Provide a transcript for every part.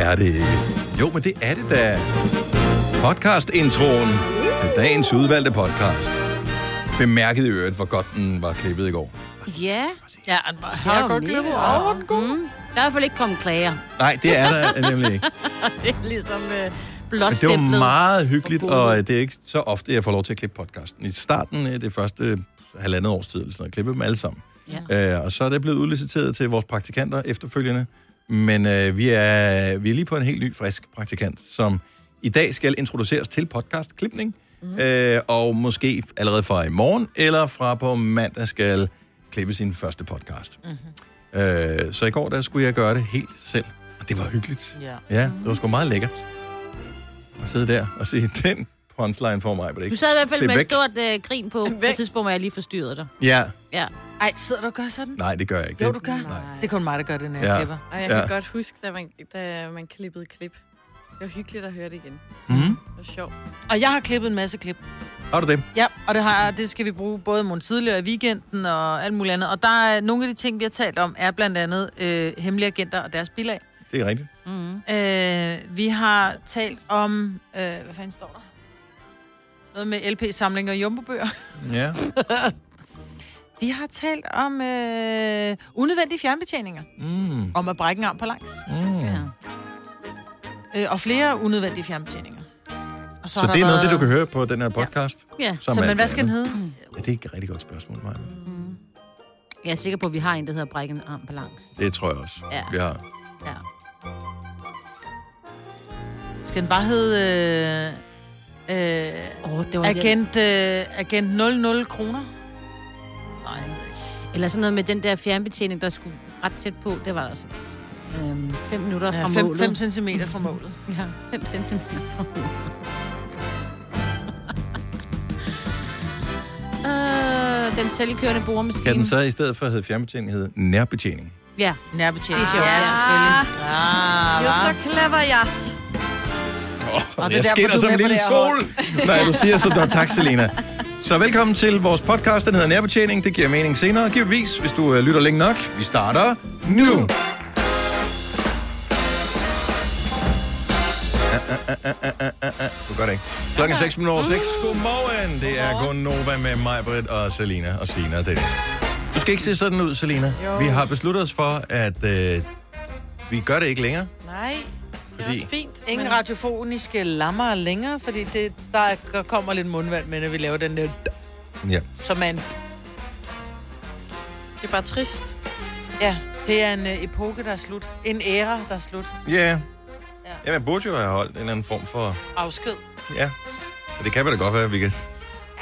er det ikke. Jo, men det er det da. Podcast-introen. Dagens udvalgte podcast. Bemærkede i øvrigt, hvor godt den var klippet i går. Ja. Ja, han var- har jeg godt glemt over den gode. Mm. Der er i hvert fald ikke kommet klager. Nej, det er der nemlig ikke. Det er ligesom øh, Men det var blåstemplet. meget hyggeligt, Forbudt. og øh, det er ikke så ofte, jeg får lov til at klippe podcasten. I starten, øh, det første halvandet års tid, eller sådan noget, klippede dem alle sammen. Ja. Øh, og så er det blevet udliciteret til vores praktikanter efterfølgende. Men øh, vi, er, vi er lige på en helt ny, frisk praktikant, som i dag skal introduceres til podcastklipning. Mm. Øh, og måske allerede fra i morgen, eller fra på mandag skal klippe sin første podcast. Mm-hmm. Øh, så i går, der skulle jeg gøre det helt selv. Og det var hyggeligt. Ja. Mhm. Ja, det var sgu meget lækkert. At sidde der og se den punchline for mig. Ikke? Du sad i hvert fald Klip med et væk. stort øh, grin på, på Væk. et tidspunkt, hvor jeg lige forstyrrede dig. Ja, Ja. Ej, sidder du og gør sådan? nej, det gør jeg ikke. Jo, Det- du gør. Nej. Det er kun mig, der gør det, når Ja. jeg klipper. Og jeg kan Ja. godt huske, da man, da man klippede klip. Det var hyggeligt at høre det igen. Mhm. Det var sjovt. Og jeg har klippet en masse klip. Har du det? Ja, og det, har, det skal vi bruge både i morgen tidligere i weekenden og alt muligt andet. Og der er nogle af de ting, vi har talt om, er blandt andet øh, hemmelige agenter og deres bilag. Det er rigtigt. Øh, vi har talt om, øh, hvad fanden står der? Noget med LP-samlinger og jumbobøger. Ja. Vi har talt om øh, unødvendige fjernbetjeninger. Mm. Om at brække en arm på langs. Mm. Øh, og flere unødvendige fjernbetjeninger. Og Så har det er der noget, af det været- du kan høre på den her podcast? Ja. som Så, alt men hvad det skal den andet. hedde? Ja, det er ikke et rigtig godt spørgsmål, Maja. Jeg er sikker på, at vi har en, der hedder Brækken Arm Balance. Det tror jeg også. Ja. Vi har. Ja. Skal den bare hedde... Øh, øh, Oh, det var Agent, øh, agent 00 kroner? Nej. Eller sådan noget med den der fjernbetjening, der skulle ret tæt på. Det var der også. Øhm, fem minutter Ja, fra 5, målet. 5 cm fra målet. Ja, 5 centimeter fra målet. øh, den selvkørende boremaskine. Kan den så i stedet for hedde fjernbetjening, hedde nærbetjening? Ja. Nærbetjening. Det er sjovt. Ja, selvfølgelig. Ah. Ah, Det var så clever, jas. Oh, det er jeg derfor, skinner du er som en med på lille det her sol, når du siger sådan. Tak, Selena. Så velkommen til vores podcast, den hedder Nærbetjening. Det giver mening senere, givetvis, hvis du øh, lytter længe nok. Vi starter nu. nu. Du gør det ikke. Klokken er 6 minutter over 6. Mm. Godmorgen. Det er kun Nova med mig, Britt og Selina og Sina og Dennis. Du skal ikke se sådan ud, Selina. Vi har besluttet os for, at øh, vi gør det ikke længere. Nej, det var Fordi- også fint. Ingen men- radiofoniske lammer længere, fordi det, der kommer lidt mundvand med, når vi laver den der, d- Ja. som er en, Det er bare trist. ja, det er en øh, epoke, der er slut. En æra, der er slut. Ja. Ja, man burde jo have holdt en eller anden form for... Afsked. Ja. Og det kan vel da godt være, at vi kan...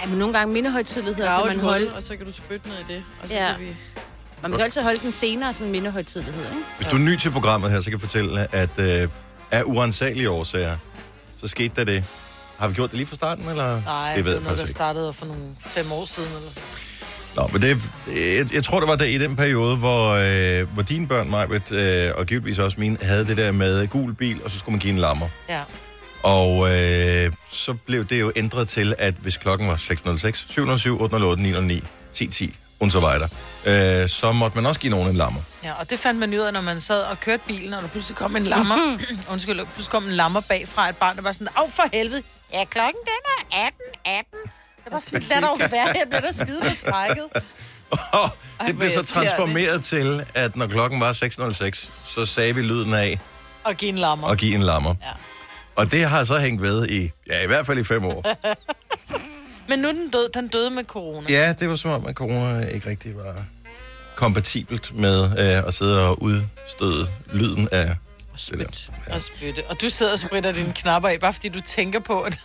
Ej, men nogle gange mindehøjtidligheder Grave kan et man hul, holde. og så kan du spytte ned i det. Og så Ja. kan vi... Man kan altid holde den senere, sådan mindehøjtidligheder, ikke? Hvis du er ny til programmet her, så kan jeg fortælle, at øh, af urensagelige årsager, så skete der det. Har vi gjort det lige fra starten, eller? Nej, det ved noget, jeg der faktisk ikke. startede for nogle fem år siden. Eller. Nå, men det, jeg, jeg tror, det var der i den periode, hvor, øh, hvor dine børn, Majbet, øh, og givetvis også mine, havde det der med gul bil, og så skulle man give en lammer. Ja. Og øh, så blev det jo ændret til, at hvis klokken var 606, 707, 808, 909, 1010, und så weiter, øh, så måtte man også give nogen en lammer. Ja, og det fandt man ud af, når man sad og kørte bilen, og der pludselig kom en lammer. undskyld, der pludselig kom en lammer bagfra et barn, der var sådan, af for helvede. Ja, klokken den er 18, 18. Det var sådan, lad dog være, jeg blev da skide forskrækket. Og det blev så irriterende. transformeret til, at når klokken var 6.06, så sagde vi lyden af Og give en lammer. at give en lammer. Ja. Og det har så hængt ved i, ja, i hvert fald i fem år. Men nu er den død, den døde med corona. Ja, det var som om, at corona ikke rigtig var kompatibelt med øh, at sidde og udstøde lyden af det der. Ja. Og spytte. Og du sidder og spritter dine knapper af, bare fordi du tænker på, at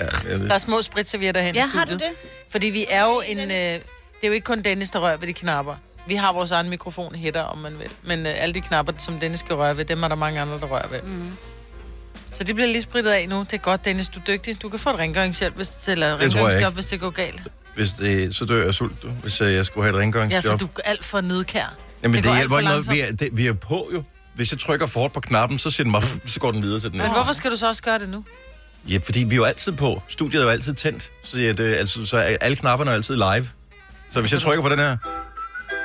Ja, jeg ved. der er små spritservietter hen i Ja, har studiet. du det? Fordi vi er jo en... Øh, det er jo ikke kun Dennis, der rører ved de knapper. Vi har vores egen mikrofon hætter, om man vil. Men øh, alle de knapper, som Dennis skal røre ved, dem er der mange andre, der rører ved. Mm. Så det bliver lige spritet af nu. Det er godt, Dennis. Du er dygtig. Du kan få et rengøringshjælp, hvis det, eller jeg rengøringsjob, ikke. hvis det går galt. Hvis det, så dør jeg af sult, du, hvis øh, jeg skulle have et Ja, rengøringsjob. for du er alt for nedkær. Jamen, det, går det alt hjælper for ikke noget. langsomt. Vi er, det, vi er på jo. Hvis jeg trykker for hårdt på knappen, så, siger den mig, så går den videre til den Men næste. hvorfor skal du så også gøre det nu? Ja, fordi vi er jo altid på. Studiet er jo altid tændt. Så, ja, det, altså, så er alle knapperne er altid live. Så hvis jeg trykker på den her,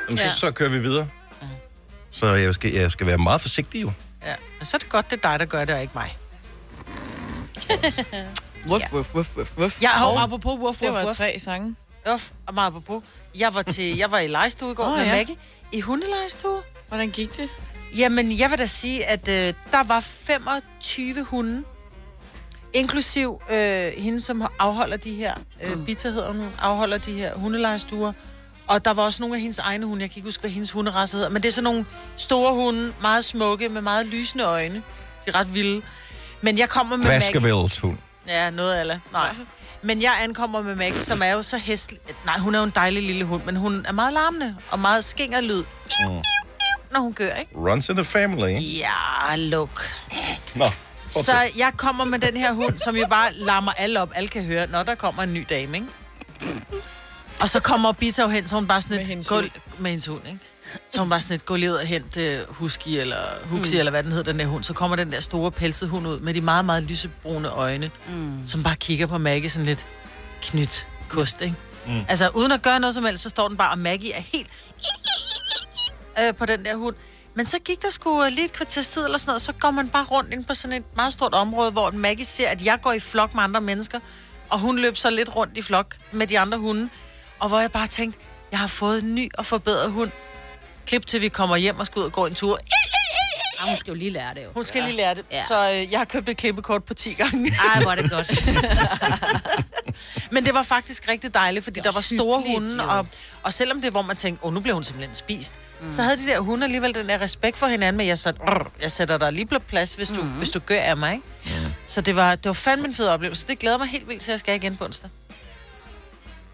jamen, så, Ja. så kører vi videre. Så jeg skal, jeg skal være meget forsigtig jo. Ja. Men så er det godt, det er dig, der gør det, og ikke mig. Wuff, wuff, wuff, wuff, wuff. Jeg har apropos wuff, Det wuff, var wuff. tre sange. Wuff, og meget apropos. Jeg var, til, jeg var i legestue i går Åh, oh, med ja. ja. Maggie. I hundelejestue. Hvordan gik det? Jamen, jeg vil da sige, at øh, der var 25 hunde, inklusiv øh, hende, som afholder de her, Mm. øh, Bita hedder hun, afholder de her hundelejestuer. Og der var også nogle af hendes egne hunde, jeg kan ikke huske, hvad hendes hunderasse hedder, men det er sådan nogle store hunde, meget smukke, med meget lysende øjne. De er ret vilde. Men jeg kommer med Maggie. Baskervilles hund. Ja, noget af det. Nej. Men jeg ankommer med Maggie, som er jo så hestlig. Nej, hun er jo en dejlig lille hund, men hun er meget larmende og meget skingerlyd, Mm. når hun gør, ikke? Runs in the family. Ja, luk. Nå, fortsæt. Så jeg kommer med den her hund, som jo bare larmer alle op. Alle kan høre, når der kommer en ny dame, ikke? Og så kommer Bita jo hen, så hun bare sådan Med et... hendes gå- hund. Med hendes hund, ikke? Så hun bare sådan et, gå lige ud og hent uh, Husky, eller Huxi, mm. eller hvad den hedder, den der hund. Så kommer den der store pelsede hund ud med de meget, meget lysebrune øjne, mm. som bare kigger på Maggie sådan lidt knyt kost, ikke? Mm. Altså, uden at gøre noget som helst, så står den bare, og Maggie er helt øh, på den der hund. Men så gik der sgu øh, lige et kvarters tid eller sådan noget, så går man bare rundt ind på sådan et meget stort område, hvor Maggie ser, at jeg går i flok med andre mennesker, og hun løb så lidt rundt i flok med de andre hunde. Og hvor jeg bare tænkte, jeg har fået en ny og forbedret hund. Klip til vi kommer hjem og skal ud og gå en tur. Ah, hun skal jo lige lære det jo. Hun skal lige lære det. Ja. Så øh, jeg har købt et klippekort på 10 gange. Ej, hvor er det godt. Men det var faktisk rigtig dejligt, fordi Det er der var også store hyggeligt, hunde, jo. og, og selvom det hvor man tænkte, åh, nu bliver hun simpelthen spist, mm. så havde de der hunde alligevel den der respekt for hinanden, men jeg sagde, "Rrr, jeg sætter dig lige på plads, hvis du, mm. hvis du gør af mig. Ikke? Mm. Så det var, det var fandme en fed oplevelse. Det glæder mig helt vildt til, at jeg skal igen på onsdag.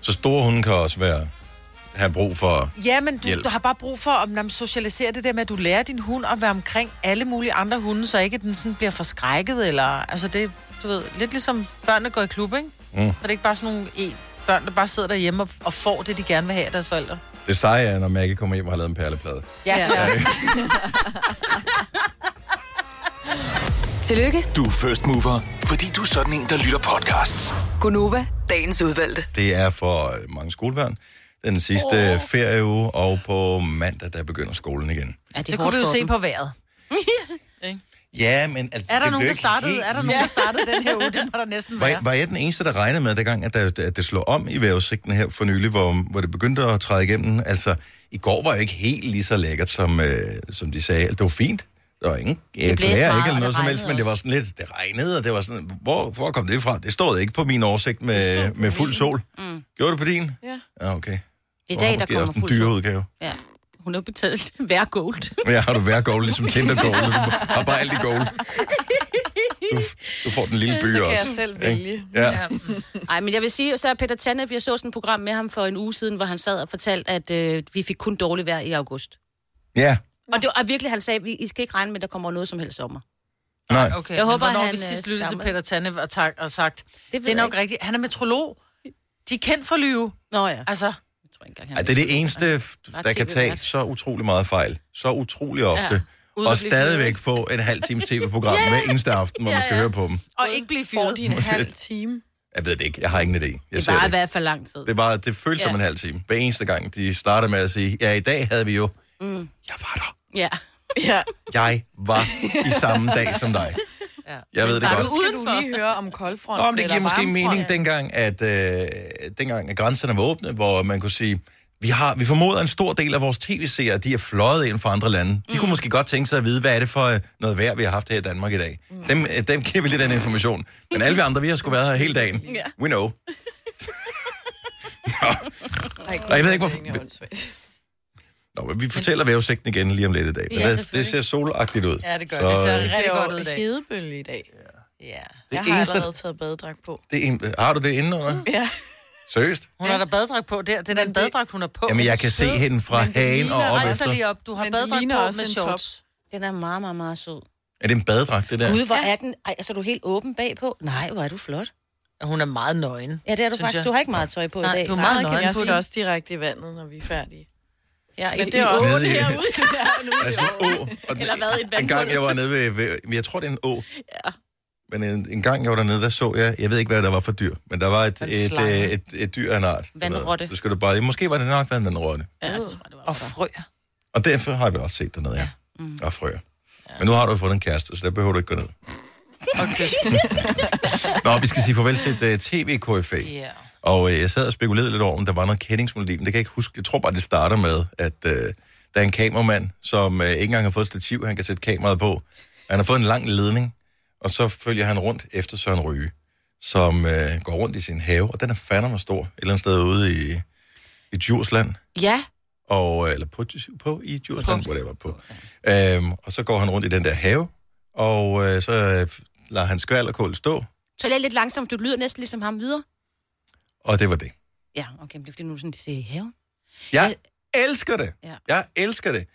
Så store hunde kan også være, have brug for... Ja, men du, Hjælp. du har bare brug for at jamen, socialisere det der med, at du lærer din hund at være omkring alle mulige andre hunde, så ikke den sådan bliver forskrækket, eller... Altså det, du ved, lidt ligesom børnene går i klub, ikke? Mm. Så det er ikke bare sådan nogle e- børn, der bare sidder derhjemme og, og får det, de gerne vil have af deres forældre. Det seje er, når Maggie kommer hjem og har lavet en perleplade. Ja, ja. Tillykke, Du er first mover, fordi du er sådan en, der lytter podcasts. Gunova, dagens udvalgte. Det er for øh, mange skolebørn. Den sidste oh. ferieuge, og på mandag, der begynder skolen igen. Ja, Det, det kunne vi jo se på vejret. Ja, men... Altså, Er der nogen, det blev der ikke startede, helt er der lige- nogen, der startede den her uge? Det må der næsten Var, være. var jeg den eneste, der regnede med, dengang, at, der, at det slog om i vejrudsigten her for nylig, hvor, hvor det begyndte at træde igennem? Altså, i går var jo ikke helt lige så lækkert, som, øh, som de sagde. Det var fint. Der var ingen blæste det klager, meget, ikke, og eller det noget som regnede helst, men det var sådan lidt, det regnede, og det var sådan, hvor, hvor kom det fra? Det stod ikke på min oversigt med, med fuld sol. Mm. Gjorde det på din? Ja. Ja, okay. Det er Du i dag, har der måske kommer også en fuld dyre sol. udgave. Ja. Hun har betalt hver gold. Ja, har du hver gold, ligesom Tinder gold. Du har bare alt i gold. Du, du får den lille by Så kan også. jeg selv ikke? vælge. Ja. Nej, men jeg vil sige, så er Peter Tanef, jeg så sådan et program med ham for en uge siden, hvor han sad og fortalte, at øh, vi fik kun dårligt vejr i august. ja. Og det var og virkelig, han sagde, vi- I skal ikke regne med, at der kommer noget som helst sommer. Nej. Okay, Jeg men håber, hvornår han, vi øh, sidst lyttede til stammer. Peter Tanne og, tak, og sagt, ved det, det er jeg nok ikke. rigtigt. Han er metrolog. De er kendt for lyve. Nå ja, Altså, jeg tror ikke engang, han Ja, det er det eneste, f- der kan TV tage værd. så utrolig meget fejl, så utrolig ofte, ja, at og blive stadigvæk få en halv times tv-program hver eneste aften, hvor man skal høre på dem. og ikke blive Får fyret. de en halv time? Jeg ved det ikke, jeg har ingen idé. Jeg Det ser var det i ikke. hvert fald lang tid. Det, er bare, det føles som en halv time. Hver eneste gang, de starter med at sige, ja, i dag havde vi jo, mm. jeg var der. Ja. Ja. Jeg var i samme dag som dig. Ja. Jeg ved det Bare godt. så skal Udenfor. du lige høre om koldfront Nå, men det eller giver måske varmefront. mening dengang, at, øh, dengang, at grænserne var åbne, hvor man kunne sige, vi, har, vi formoder en stor del af vores tv-seere, de er fløjet ind fra andre lande. De kunne måske godt tænke sig at vide, hvad er det for øh, noget vejr, vi har haft her i Danmark i dag. Dem, øh, dem giver vi lidt den information. Men alle vi andre, vi har sgu været her hele dagen. We know. Ej, gud, Og jeg ved ikke, det er hvorfor- egentlig åndssvagt. Nå, men vi fortæller vejrudsigten igen lige om lidt i dag. Men Ja, det, det selvfølgelig. ser solagtigt ud. Ja, det gør Så, det. Det ser øh, rigtig Det er godt ud jo i dag. hedebølge i dag. Ja. Jeg har eneste- allerede taget badedragt på. det er en, har du det indenunder? Mm. Ja. Seriøst? Hun har da baddrag på der. Det er da en baddrag, hun har på. Jamen, jeg kan se hende fra hagen og op Rejs efter. dig lige op. Du har Men det baddrag ligner på også med en shorts. Den er meget, meget, meget sød. Er det en badedragt, det der? Gud, hvor er den... Ej, så er du helt åben bagpå. Nej, hvor er du flot. Hun er meget nøgen. Ja, det er du Synes faktisk. jeg. Du har ikke meget tøj på Nej, i dag. du er Nej. meget- Meget kan nøgen jeg på putte den. også direkte i vandet, når vi er færdige. Ja, i- Men det er i også Nede i- herude. Der er sådan en å. Og den, Eller hvad, et vandhul? en gang jeg var nede ved, ved men jeg tror det er en å. Ja. Men en, en gang jeg var dernede, der så jeg, jeg ved ikke hvad der var for dyr, men der var et, En et, øh, slange. et, et, et dyr af en art. Vandrotte. Så skal du bare, måske var det nok været en vandrotte. Ja, det tror jeg, det var. Og frøer. Og derfor har vi også set dernede, ja. Mm. Og frøer. Ja. Men nu har du fået en kæreste, så der behøver du ikke gå ned. Okay. Nå, vi skal sige farvel til et uh, tv-KFA. Ja. Og øh, jeg sad og spekulerede lidt over, om der var noget kendingsmelodi, men det kan jeg ikke huske. Jeg tror bare, det starter med, at øh, der er en kameramand, som øh, ikke engang har fået et stativ, han kan sætte kameraet på. Han har fået en lang ledning, og så følger han rundt efter Søren Ryge, som øh, går rundt i sin have, og den er fandme stor, et eller andet sted ude i, i Djursland Ja, og, øh, eller på, på i Djursland, whatever, på. Øhm, og så går han rundt i den der have, og øh, så øh, lader han skvalderkål stå, så lad lidt langsomt, du lyder næsten ligesom ham videre. og det var det. Ja, okay, men det er fordi nu er sådan, de siger, have. Jeg elsker det. Ja. Jeg elsker det.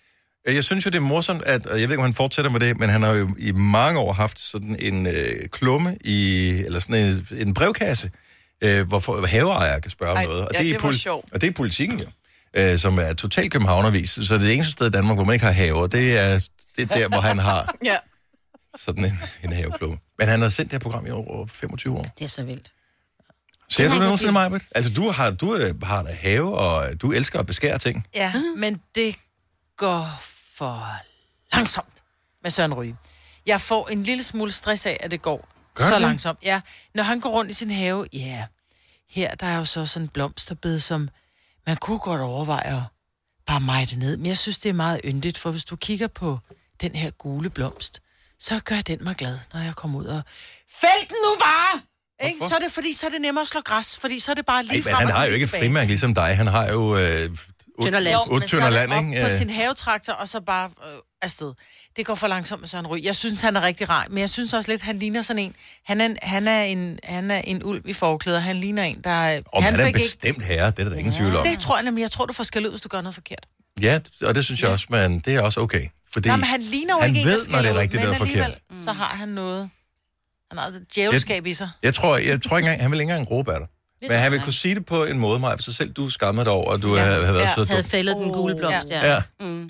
Jeg synes jo, det er morsomt, at, og jeg ved ikke, om han fortsætter med det, men han har jo i mange år haft sådan en øh, klumme i, eller sådan en, en brevkasse, øh, hvor for- haveejere kan spørge om Ej, noget. Og ja, er det var poli- sjovt. Og det er politikken jo, øh, som er totalt københavnervis. Så det eneste sted i Danmark, hvor man ikke har haver, det er, det er der, hvor han har Ja. sådan en, en haveklumme. Men han har sendt det her program i over 25 år. Det er så vildt. Ser du har det jeg nogensinde, ikke Majbet? Altså, du har, du øh, har da have, og øh, du elsker at beskære ting. Ja, men det går for langsomt med Søren Ryge. Jeg får en lille smule stress af, at det går Gør så det? langsomt. Ja, når han går rundt i sin have, ja, yeah. her der er jo så sådan en blomsterbed, som man kunne godt overveje at bare meje det ned. Men jeg synes, det er meget yndigt, for hvis du kigger på den her gule blomst, så gør den mig glad, når jeg kommer ud og... Fæld den nu bare! Ikke? Så er det fordi, så er det nemmere at slå græs, fordi så er det bare lige Ej, men frem han og har jo lige ikke et tilbage. frimærke ligesom dig. Han har jo... Øh, Tønderland. Jo, Otte tønder land, ikke? op på Øh, sin havetraktor, og så bare øh, afsted. Det går for langsomt med Søren Ryg. Jeg synes, han er rigtig rar, men jeg synes også lidt, han ligner sådan en. Han er, en- han er, en, han er en ulv i forklæder. Han ligner en, der... øh, Om han er en bestemt herre, det er der da ingen tvivl om. Det tror jeg nemlig. Jeg tror, du får skæld ud, hvis du gør noget forkert. Ja, og det synes jeg også, men det er også okay. Fordi Nej, men han ligner jo han ikke en, der ved, når det er skælder ud, rigtigt men eller forkert. Mm. alligevel, så har han noget... Han har et djævelskab i sig. jeg tror, jeg tror ikke engang, han vil ikke engang råbe af dig. Men han vil kunne sige det på en måde, Maja, så selv du skammer dig over, at du ja. har været Ja, Oh, så Havde dum. fældet den gule blomst, ja. Ja. ja. Mm.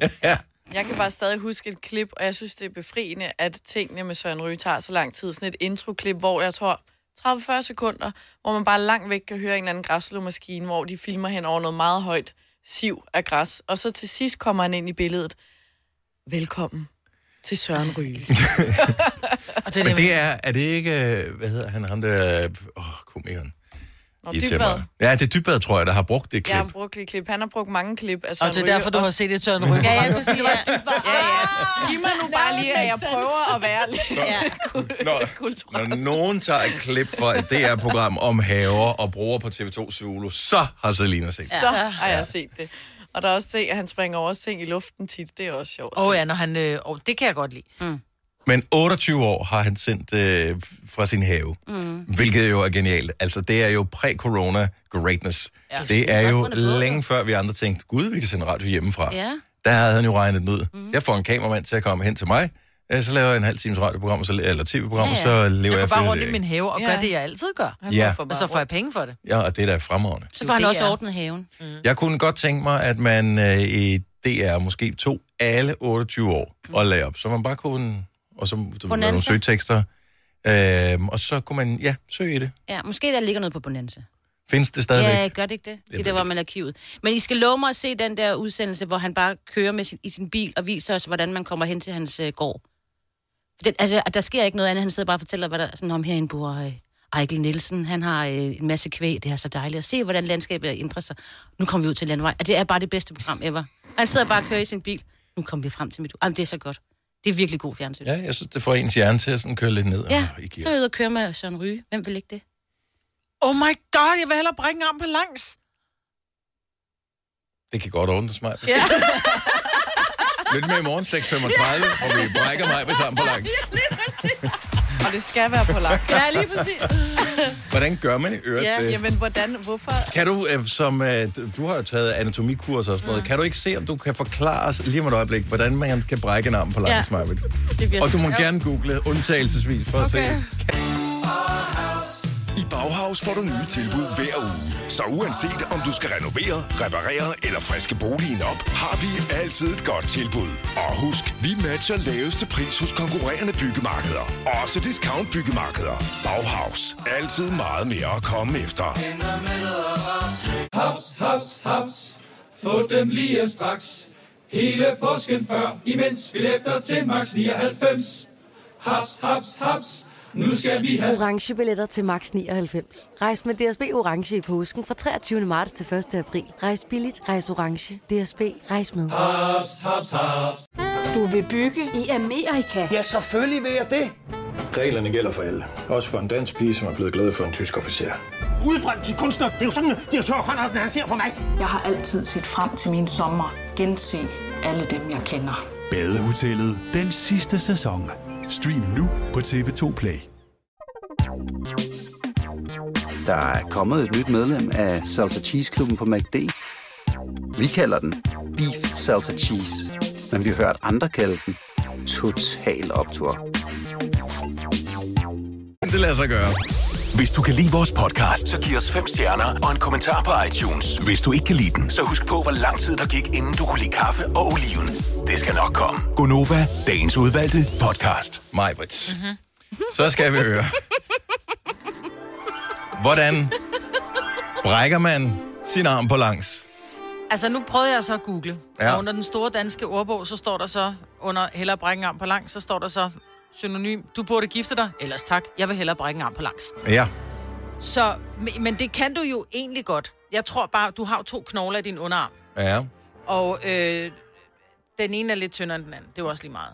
Jeg kan bare stadig huske et klip, og jeg synes, det er befriende, at tingene med Søren Ryge tager så lang tid. Sådan et introklip, hvor jeg tror 30-40 sekunder, hvor man bare langt væk kan høre en eller anden græsslåmaskine, hvor de filmer hen over noget meget højt siv af græs. Og så til sidst kommer han ind i billedet. Velkommen til Søren Ryge. Og det er Men det, det er, er det ikke, øh, hvad hedder han, ham der, øh, åh, oh, komikeren. Nå, Irriterer Dybvad. mig. Ja, det er dybbad, tror jeg, der har brugt det klip. Jeg har brugt et klip. Han har brugt mange klip af Søren og det er Ryge, derfor, du og har set et Søren Ryg. Ja, jeg kunne sige, at du var... Ja, ja. Giv mig nu bare lige, at jeg prøver at være lidt Når, når nogen tager et klip fra et DR-program om haver og bruger på TV2 Zulu, så har Selina set det. Så har jeg set det. Og der er også se, at han springer over ting i luften tit. Det er også sjovt. Åh oh, ja, når han... Øh, oh, det kan jeg godt lide. Men 28 år har han sendt øh, fra sin have, mm. hvilket jo er genialt. Altså, det er jo præ-corona greatness. Ja. Det er jo Godt fundet på, længe før vi andre tænkte, gud, vi kan sende radio hjemmefra. Ja. Der havde han jo regnet den ud. Mm. Jeg får en kameramand til at komme hen til mig, øh, så laver jeg en halv times radioprogram, og så- eller tv-program, ja, Ja, ja. ja. og så lever Jeg jeg, går bare for rundt det. i min have og gør Ja. det, jeg altid gør. Ja. Og så får jeg penge for det. Ja, og det er da fremragende. Så får han Det også er- Mm. ordnet haven. Jeg kunne godt tænke mig, at man øh, i DR måske tog alle 28 år og lagde op, så man bare kunne, øh, og så du ved, nogle Bonanza. søgetekster, øh, og så kunne man, ja, søge i det. Ja, måske der ligger noget på Bonanza. Findes det stadigvæk? Ja, Ja, gør det ikke det? ved Det der, hvor man er arkivet. Men I skal love mig at se den der udsendelse, hvor han bare kører med sin, i sin bil og viser os, hvordan man kommer hen til hans øh, gård. For Den, altså, der sker ikke noget andet. Han sidder bare og fortæller, hvad der sådan om herinde bor øh, Ejkel Nielsen. Han har øh, en masse kvæg. Det er så dejligt at se, hvordan landskabet ændrer sig. Nu kommer vi ud til landevej, og det er bare det bedste program ever. Han sidder bare og kører i sin bil. Nu kommer vi frem til mit... Jamen, det er så godt. Det er virkelig god fjernsyn. Ja, ja jeg synes, det får ens hjerne til at sådan køre lidt ned. ja Åh, så I giver. er jeg ude og køre med Søren Ryge. Hvem vil ikke det? Oh my god, jeg vil hellere bringe arm på langs. Det kan godt ordnes mig. Ja. Lidt med i morgen 6.35, hvor vi brækker mig på sammen på langs. Og det skal være på langt. Ja, lige præcis. Hvordan gør man i øvrigt Ja, det? jamen, hvordan, hvorfor? Kan du, øh, som øh, du- du har jo taget anatomikurser og sådan noget, kan du ikke se, om du kan forklare os lige om et øjeblik, hvordan man kan brække en arm på langs, ja. Og du må gerne google undtagelsesvis for okay. at se. I Bauhaus får du nye tilbud hver uge. Så uanset om du skal renovere, reparere eller friske boligen op, har vi altid et godt tilbud. Og husk, vi matcher laveste pris hos konkurrerende byggemarkeder. Også discount byggemarkeder. Bauhaus. Altid meget mere at komme efter. Haps, haps, haps. Få dem lige straks. Hele påsken før, imens billetter til max 99. Haps, haps, haps. Nu skal vi have... orange billetter til max 99. Rejs med DSB orange i påsken fra 23. marts til 1. april. Rejs billigt, rejs orange. DSB rejs med. Haps, haps, haps. Du vil bygge i Amerika? Ja, selvfølgelig vil jeg det. Reglerne gælder for alle. Også for en dansk pige, som er blevet glad for en tysk officer. Udbrøndt til kunstner. Det er jo sådan, at de har Conradsen, han ser på mig. Jeg har altid set frem til min sommer. Gense alle dem, jeg kender. Badehotellet den sidste sæson. Stream nu på TV2 Play. Der er kommet et nyt medlem af Salsa Cheese Klubben på MACD. Vi kalder den Beef Salsa Cheese. Men vi har hørt andre kalde den Total Optor. Det lader sig gøre. Hvis du kan lide vores podcast, så giv os fem stjerner og en kommentar på iTunes. Hvis du ikke kan lide den, så husk på, hvor lang tid der gik, inden du kunne lide kaffe og oliven. Det skal nok komme. Gonova, dagens udvalgte podcast. Mig, Brits. Mm-hmm. Så skal vi høre. Hvordan brækker man sin arm på langs? Altså, nu prøvede jeg så at google. Ja. Ja. Og under den store danske ordbog, så står der så, under hellere brække en arm på langs, så står der så synonym, du burde gifte dig, ellers tak, jeg vil hellere brække en arm på langs. Ja. Så, men- men det kan du jo egentlig godt. Jeg tror bare, du har jo to knogler i din underarm, Ja. og øh, den ene er lidt tyndere end den anden. Det er jo også lige meget.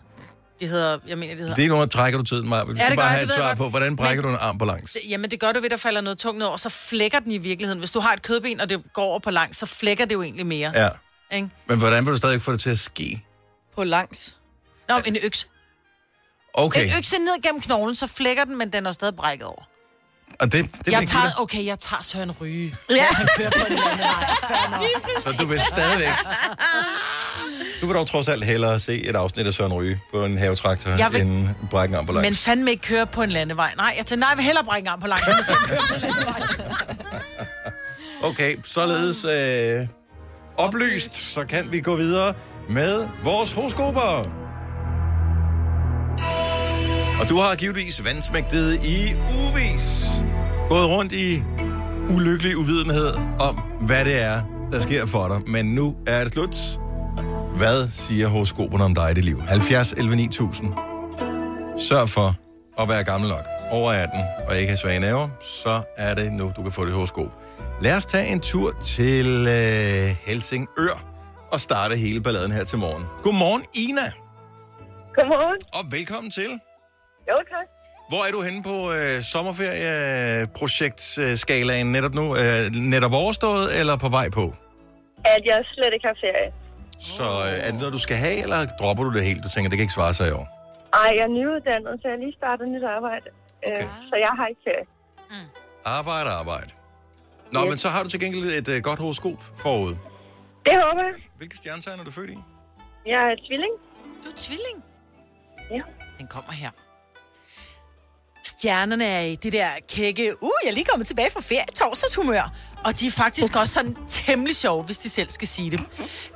Det hedder, jeg mener, det hedder... Det er noget, trækker du tiden, Maja. Vi Ja, skal det bare gør have jeg, det et ved jeg svar godt. på, hvordan brækker du Men- en arm på langs? Det- Jamen, det gør du ved, at der falder noget tungt ned over, så flækker den i virkeligheden. Hvis du har et kødben, og det går over på langs, så flækker det jo egentlig mere. Ja. Ikke? Men hvordan vil du stadig få det til at ske? På langs. Nå, men en økse. Okay, En økse ned gennem knoglen, så flækker den, men den er stadig brækket over. og det, Det det jeg vil tager, give dig- okay, jeg tager Søren Ryge. Ja. Han kører på den anden vej. Fair nok. Så du vil stadigvæk... Du vil dog trods alt hellere se et afsnit af Søren Ryge på en havetraktor, Jeg vil- vil... end brække en arm på langs. Men fandme ikke køre på en landevej. Nej, jeg tager, nej, jeg vil hellere brække en arm på langs, end at se ham køre på en landevej. Okay, således øh, oplyst, så kan vi gå videre med vores horoskoper. Og du har givetvis vandsmægtet i uvis. Gået rundt i ulykkelig uvidenhed om, hvad det er, der sker for dig. Men nu er det slut. Hvad siger horoskoperne om dig i dit liv? 70 11 9000. Sørg for at være gammel nok. Over 18 og ikke have svage naver, så er det nu, du kan få dit horoskop. Lad os tage en tur til øh, Helsingør og starte hele balladen her til morgen. Godmorgen, Ina. Godmorgen. Og velkommen til. Jo, tak. Hvor er du henne på øh, sommerferieprojektskalaen øh, skalaen netop nu? Øh, netop overstået eller på vej på? At jeg slet ikke har ferie. Så øh, er det noget, du skal have, eller dropper du det helt? Du tænker, det kan ikke svare sig i år. Ej, jeg er nyuddannet, så jeg har lige startet nyt arbejde. Okay. Øh, så jeg har ikke ferie. Arbejde, arbejde. Nå, men så har du til gengæld et øh, godt horoskop forud. Det håber jeg. Hvilke stjernetegn er du født i? Jeg er tvilling. Du er tvilling? Ja. Den kommer her. Stjernerne er i det der kække, uh, jeg er lige kommet tilbage fra ferie, torsdagshumør. Og de er faktisk også sådan temmelig sjove, hvis de selv skal sige det.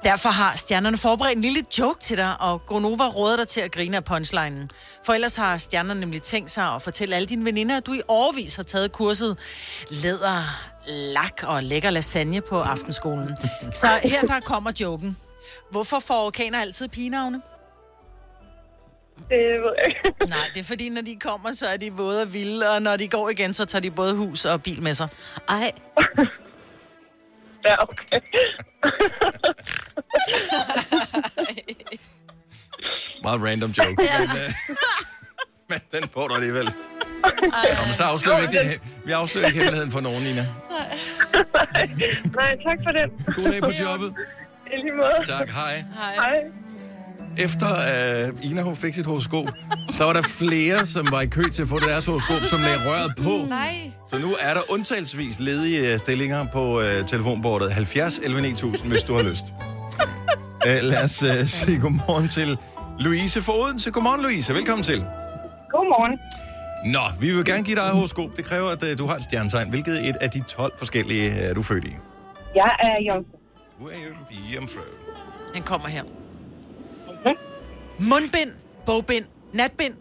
Derfor har stjernerne forberedt en lille joke til dig, og Gonova råder dig til at grine af punchlinen. For ellers har stjernerne nemlig tænkt sig at fortælle alle dine veninder, at du i årvis har taget kurset læder, lak og lækker lasagne på aftenskolen. Så her der kommer joken. Hvorfor får orkaner altid pigenavne? Nej, det er fordi, når de kommer, så er de våde og vilde, og når de går igen, så tager de både hus og bil med sig. Ej. ja, okay. Meget random joke. Men, øh, men den får du alligevel. Nå, men så afslører vi ikke, din, he- vi afslører ikke hemmeligheden for nogen, Nina. Nej, tak for det. God dag på jobbet. I lige måde. Tak, hej. Hej. Hej. Efter øh, Ina hun fik sit horoskop, så var der flere, som var i kø til at få deres horoskop, som lagde røret på. Nej. Så nu er der undtagelsesvis ledige øh, stillinger på øh, telefonbordet 70 11 9000, hvis du har lyst. øh, lad os øh, sige godmorgen til Louise for Odense. Godmorgen, Louise. Velkommen til. Godmorgen. Nå, vi vil gerne give dig et horoskop. Det kræver, at øh, du har et stjernetegn. Hvilket et af de 12 forskellige er du født i? Jeg er jomfru. Du er jo en jomfru. Den kommer her. Mundbind, bogbind, natbind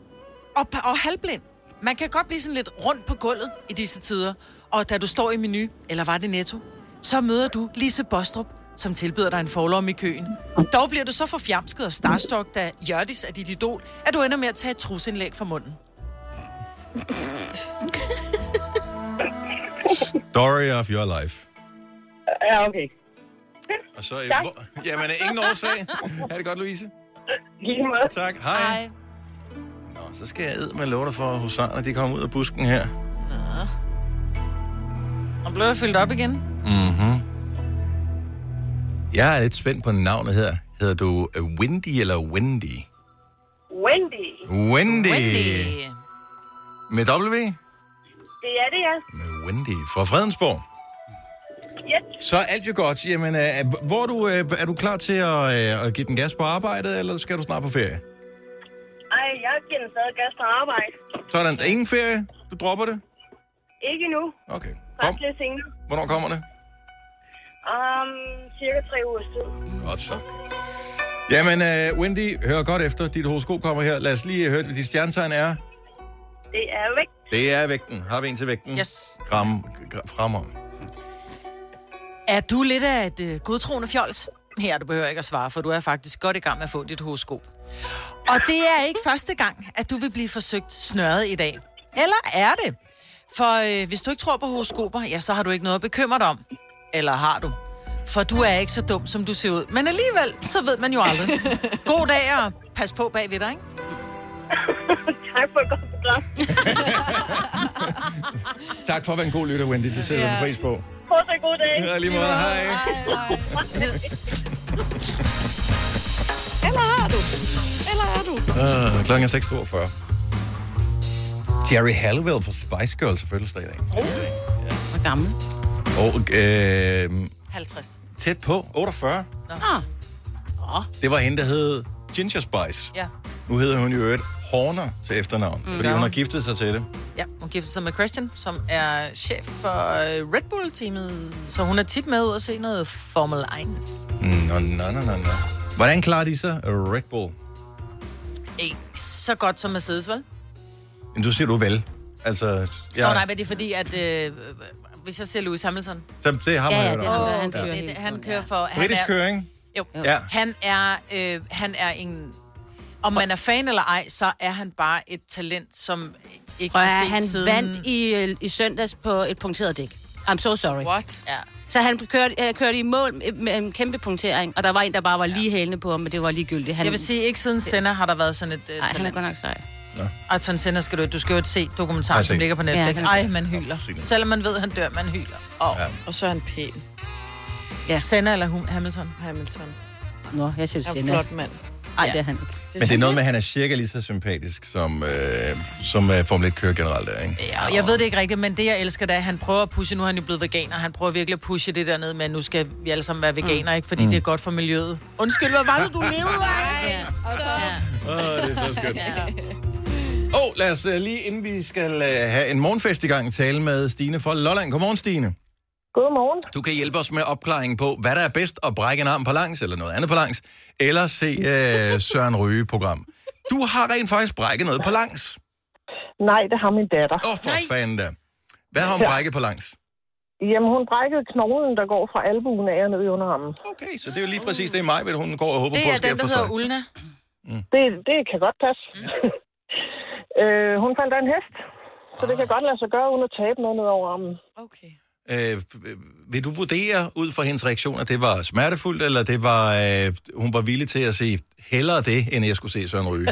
og, pa- og halvblind. Man kan godt blive sådan lidt rundt på gulvet i disse tider. Og da du står i menu, eller var det netto, så møder du Lise Bostrup, som tilbyder dig en forlomme i køen. Dog bliver du så forfjamsket og starstok, da Jørdis er dit idol, at du ender med at tage et trusindlæg fra munden. Story of your life. Ja, okay. Og så, øh, Tak. hvor, jamen, øh, ingen årsag. Ha' det godt, Louise. Lige måde. Tak, hej. hej. Nå, så skal jeg med love dig for, at husarerne, de kommer ud af busken her. Og blev der fyldt op igen? Mhm. Jeg er lidt spændt på navnet her. Hedder du øh, Windy eller Wendy? Wendy. Wendy. Med W? Det er det, ja. Wendy fra Fredensborg. Yes. Så er alt jo godt. Jamen, øh, er- hvor er du, øh, er du klar til at, øh, at give den gas på arbejdet, eller skal du snart på ferie? Ej, jeg giver den stadig gas på arbejde. Sådan, der er ingen ferie. Du dropper det. Ikke nu. Okay. Kom. lidt senere. Hvornår kommer det? Om Um, cirka tre uger siden. Godt så. Jamen, øh, Wendy, hør godt efter. Dit horoskop kommer her. Lad os lige høre, hvad dit stjernetegn er. Det er væk. Det er vægten. Har vi en til vægten? Yes. Gram, gra- fremmer. Er du lidt af et øh, godtroende fjols? Her, du behøver ikke at svare, for du er faktisk godt i gang med at få dit horoskop. Og det er ikke første gang, at du vil blive forsøgt snørret i dag. Eller er det? For øh, hvis du ikke tror på horoskoper, ja, så har du ikke noget at bekymre dig om. Eller har du? For du er ikke så dum, som du ser ud. Men alligevel, så ved man jo aldrig. God dag, og pas på bagved dig, ikke? tak for et godt program. Tak for at være en god lytter, Wendy. Det sætter vi Ja. pris på. Fortsat god dag. Ja, lige måde. Hej. Eller har du? Eller har du? Uh, klokken er 6.42. Jerry Halliwell fra Spice Girls er fødselsdag i dag. Hvor gammel? Og øh, 50. tæt på, 48. Nå. Ah. Det var hende, der hed Ginger Spice. Ja. Nu hedder hun jo øvrigt Horner til efternavn, Mm. mm. fordi Ja. hun har giftet sig til det. Ja, hun giftede sig med Christian, som er chef for øh, Red Bull-teamet. Så hun er tit med ud og se noget Formel 1. Mm, Nå, nå, nå, nå, nå. Hvordan klarer de sig? Red Bull. Ikke så godt som Mercedes, vel? Men du siger du er vel. Altså, Ja. Nå, nej, men det er fordi, at... Øh, hvis jeg ser Lewis Hamilton... Så det har man ja, hørt det, om. er ham, Ja. der- han, kører, det, det, han kører for... Britisk han er, køring. Jo. Ja. Ja. Han, er, øh, han er en... Om man er fan eller ej, så er han bare et talent, som ikke Og har er set han siden... vandt i, øh, i søndags på et punkteret dæk. I'm so sorry. What? Ja. Så han kørte, øh, kørte i mål med- med en kæmpe punktering, og der var en, der bare var lige hælende på ham, men det var ligegyldigt. Han, Jeg vil sige, ikke siden Senna har der været sådan et øh, Ej, han er talent. godt nok sej. Ayrton Senna skal du Du skal jo ikke se Har dokumentaren, jeg som set. ligger på Ja, Netflix. den Ja, er Ej, god. man hyler. Selvom man ved, at han dør, man hyler. Og, ja. og så er han pæn. Ja, Senna eller hun, Hamilton? Hamilton. Nå, jeg synes, Han er Senna. flot mand. Ej, Ja. det er han. Men det er noget med, at han er cirka lige så sympatisk, som, øh, som øh, Formel 1 kører generelt er, ikke? Ja, og jeg ved det ikke rigtigt, men det, jeg elsker, det er, at han prøver at pushe, nu er han jo blevet veganer, han prøver virkelig at pushe det dernede med, at nu skal vi alle sammen være veganer, ikke? fordi Mm. det er godt for miljøet. Undskyld, hvad var det, du levede af? Ja. Åh, det er så skønt. Åh, oh, lad os øh, lige inden vi skal øh, have en morgenfest i gang, tale med Stine fra Lolland. Godmorgen, Stine. Godmorgen. Du kan hjælpe os med opklaringen på, hvad der er bedst, at brække en arm på langs, eller noget andet på langs, eller se øh, Søren Røge-program. Du har rent faktisk brækket noget på langs. Nej, det har min datter. Åh, oh, for fanden da. Hvad har hun Ja. brækket på langs? Jamen, hun brækkede knoglen, der går fra albuen af og ned i underarmen. Okay, så det er jo lige præcis det i maj, hvad hun går og håber Det på, er sker den, der for hedder sig. Ulna. Mm. Det, det kan godt passe. øh, hun fandt da en hest, så Ah. det kan godt lade sig gøre, uden at tabe noget ned over armen. Øh, øh, vil du vurdere ud fra hendes reaktion, at det var smertefuldt, eller det var, øh, hun var villig til at sige, hellere det, end jeg skulle se Søren Ryge?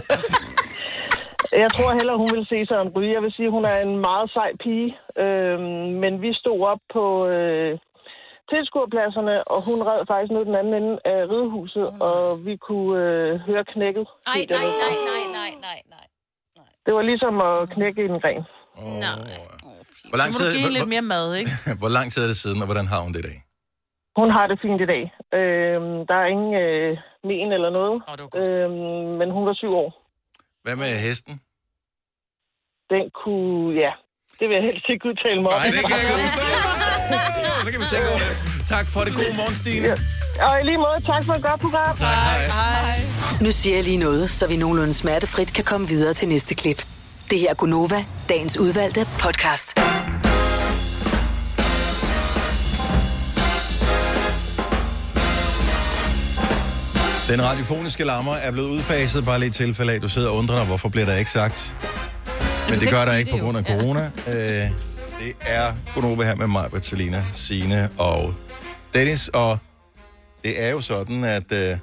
Jeg tror heller, hun ville se Søren Ryge. Jeg vil sige, hun er en meget sej pige. Øhm, men vi stod op på øh, tilskuerpladserne, og hun red faktisk ned den anden ende af ridehuset, og vi kunne øh, høre knækket. Nej, nej, nej, nej, nej, nej, nej. Det var ligesom at knække en gren. Hvor lang, Så må du tid, give hende hvor, lidt mere mad, ikke? hvor lang tid er det siden, og hvordan har hun det i dag? Hun har det fint i dag. Øhm, der er ingen øh, men eller noget. Øhm, men hun var syv år. Hvad med hesten? Den kunne, ja, det vil jeg helst ikke udtale mig om. Nej, det kan jeg godt forstå. Så kan vi tænke over det. Tak for det. God morgen, Stine. Og i lige måde, tak for et godt program. Tak, hej. hej. Nu siger jeg lige noget, så vi nogenlunde smertefrit kan komme videre til næste klip. Det her er Gunova, dagens udvalgte podcast. Den radiofoniske lammer er blevet udfaset, bare lige i tilfælde af, at du sidder og undrer dig, hvorfor bliver der ikke sagt. Men det gør der ikke på grund af corona. Øh, det er Gunova her med mig, Bertalina, Sine og Dennis. Og det er jo sådan, at øh,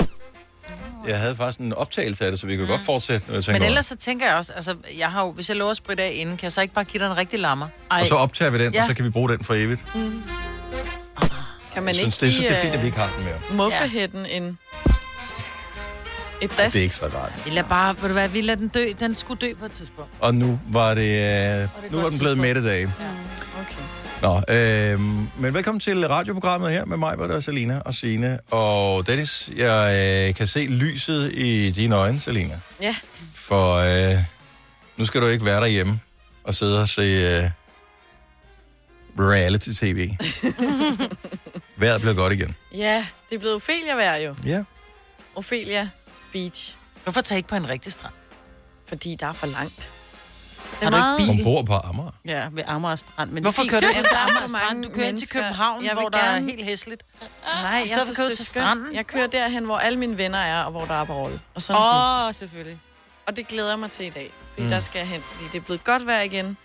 jeg havde faktisk en optagelse af det, så vi kan godt fortsætte. når Jeg Men tænker over ellers så tænker jeg også, altså, jeg har jo, hvis jeg lover at spritte af inden, kan jeg så ikke bare give dig en rigtig lammer? det. Og så optager vi den, ja. og så kan vi bruge den for evigt. Mm. Kan man Jeg synes, det, ikke jeg synes, det er give, fint, at vi øh, ikke har den mere. Muffehætten ja. en... Et das. Det er ikke så rart. Vi lader bare, ved du hvad, vi lader den dø. Den skulle dø på et tidspunkt. Og nu var det... Øh, nu var den blevet middag. Nå, øh, men velkommen til radioprogrammet her med mig, hvor der er Selina og Sine og Dennis. Jeg øh, kan se lyset i dine øjne, Selina. Ja. For øh, nu skal du ikke være derhjemme og sidde og se øh, reality-tv. Vejret bliver godt igen. ja, det er blevet Ophelia vejr jo. Ja. Ophelia Beach. Hvorfor tage ikke på en rigtig strand? Fordi der er for langt. Har du ikke bil? Ombord på Amager. Ja, ved Amager Strand. Men Hvorfor det er kører du fint. ind til Amager Strand? Du kører ind til København, hvor der er helt hæsligt. Nej, jeg stedet for synes, at køre det ud er til skønt. stranden. Jeg kører derhen, hvor alle mine venner er, og hvor der er parole. Og sådan Åh, selvfølgelig. Og det glæder jeg mig til i dag, fordi Mm. mm. der skal jeg hen, fordi det er blevet godt vejr igen.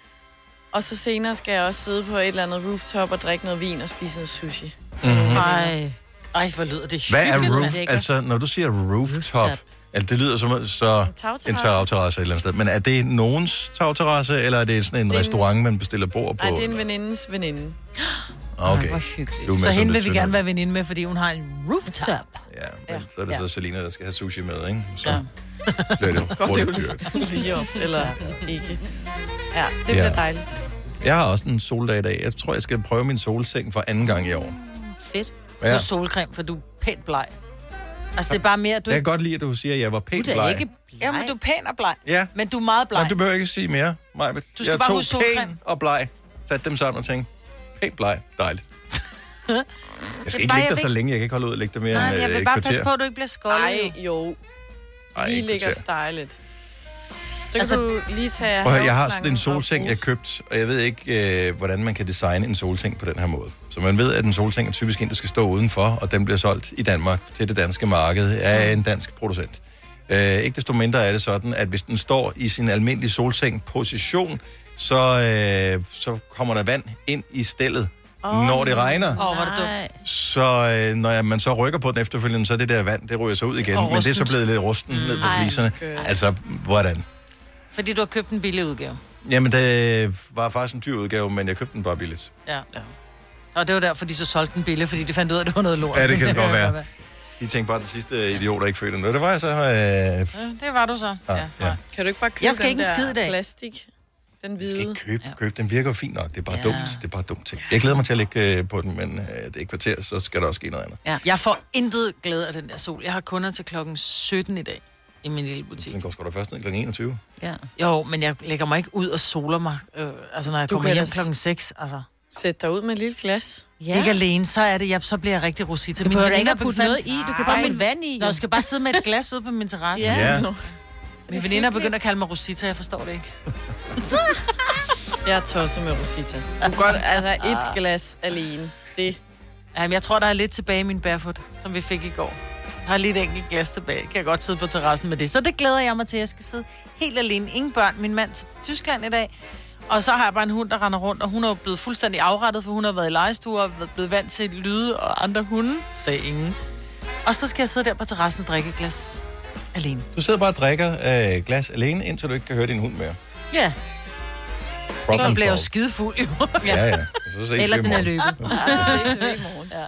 Og så senere skal jeg også sidde på et eller andet rooftop og drikke noget vin og spise en sushi. Øh, Mhm. Ej. Ej, hvor lyder det Hvad er hyggeligt, roof? mand. Altså, når du siger rooftop, Rooftop. altså, det lyder som så en tagterrasse. tagterrasse et eller andet sted. Men er det nogens tagterrasse, eller er det sådan en Det er en- restaurant, man bestiller bord på? Ah, Ej, det er en venindens veninde. Hvor Okay. Du er med hyggeligt. Så som hende lidt vil vi tyndere. gerne være veninde med, fordi hun har en rooftop. Men så er det Ja. så Selina, der skal have sushi med, ikke? Så bliver det jo Godt hurtigt dyrt. Lige op, eller ikke. Ja, det Ja. bliver dejligt. Jeg har også en soldag i dag. Jeg tror, jeg skal prøve min solseng for anden gang i år. Fedt. Ja. Ja. Du solcreme, for du er pænt bleg. Altså, det er bare mere, at du Jeg kan godt lide, at du siger, at jeg var pænt Du er da bleg. ikke bleg. Jamen, du er pæn og bleg. Ja. Men du er meget bleg. Nej, du behøver ikke sige mere, Majbet. Du skal jeg bare tog huske solcreme. pæn og bleg, satte dem sammen og tænkte, pænt bleg, dejligt. Jeg Det er skal ikke bare, ligge jeg der vil så ikke- længe. Jeg kan ikke holde ud og ligge der mere Nej, end jeg øh, vil et bare kvarter. passe på, at du ikke bliver skoldet. Ej, jo. Ej, I et ligger kvarter. stylet. Så kan altså, du lige tage Prøv at høre, jeg har sådan haveslangen en og solseng, jeg købt, og jeg ved ikke, øh, hvordan man kan designe en solseng på den her måde. Så man ved, at en solseng er typisk en, der skal stå udenfor, og den bliver solgt i Danmark til det danske marked af en dansk producent. Øh, ikke desto mindre er det sådan, at hvis den står i sin almindelige solseng-position, så, øh, så kommer der vand ind i stellet, oh, når det regner. Åh, oh, hvor er det dumt. Så øh, når jeg- man så rykker på den efterfølgende, så er det der vand, det ryger så ud igen. Og Men det er så rustent. blevet lidt rusten mm. ned på Ej, fliserne. skørt. Altså, hvordan? Fordi du har købt en billig udgave. Jamen, det var faktisk en dyr udgave, men jeg købte den bare billigt. Ja. ja. Og det var derfor, de så solgte den billig, fordi de fandt ud af, at det var noget lort. Ja, det kan det godt være. De tænkte bare, at den sidste idiot, der ikke følte noget. Det var jeg så... Øh, f- Ja, Det var du så. Ja. ja. Kan du ikke bare købe Jeg skal den ikke en der skid i dag. plastik? Den hvide. Jeg skal ikke køb, køb, den virker jo fint nok. Det er bare ja. dumt. Det er bare dumt ting. Jeg glæder mig til at ligge øh, på den, men øh, det er et kvarter, så skal der også ske noget andet. Ja. Jeg får intet glæde af den der sol. Jeg har kunder til klokken 17 i dag i min lille butik. Den går sgu da først ned kl. 21. Ja. Jo, men jeg lægger mig ikke ud og soler mig, øh, altså når jeg Du du kommer kan hjem da s- klokken 6. Altså. Sæt dig ud med et lille glas. Ja. Ikke alene, så er det, jeg, så bliver jeg rigtig rosita. Du behøver da ikke veninder at putte befandt- noget i. Du kan bare Ej. putte vand i, jo. Nå, jeg skal bare sidde med et glas ude på min terrasse. Ja. Ja. Mine veninder er begyndt at kalde mig Rosita, jeg forstår det ikke. Jeg er tosset med Rosita. Du kan godt, altså Ah. et glas alene. Det. Jamen, jeg tror, der er lidt tilbage i min barefoot, som vi fik i går. Jeg har lidt enkelt glas tilbage. Kan jeg godt sidde på terrassen med det. Så det glæder jeg mig til. Jeg skal sidde helt alene. Ingen børn. Min mand til Tyskland i dag. Og så har jeg bare en hund, der render rundt, og hun er jo blevet fuldstændig afrettet, for hun har været i legestue og været- blevet vant til lyde og andre hunde, sagde ingen. Og så skal jeg sidde der på terrassen og drikke et glas alene. Du sidder bare og drikker øh, glas alene, indtil du ikke kan høre din hund mere. Ja. Problem så bliver jeg jo solved. skidefuld, jo. Ja, ja. Så ses vi i Eller den er morgen. løbet. Ja.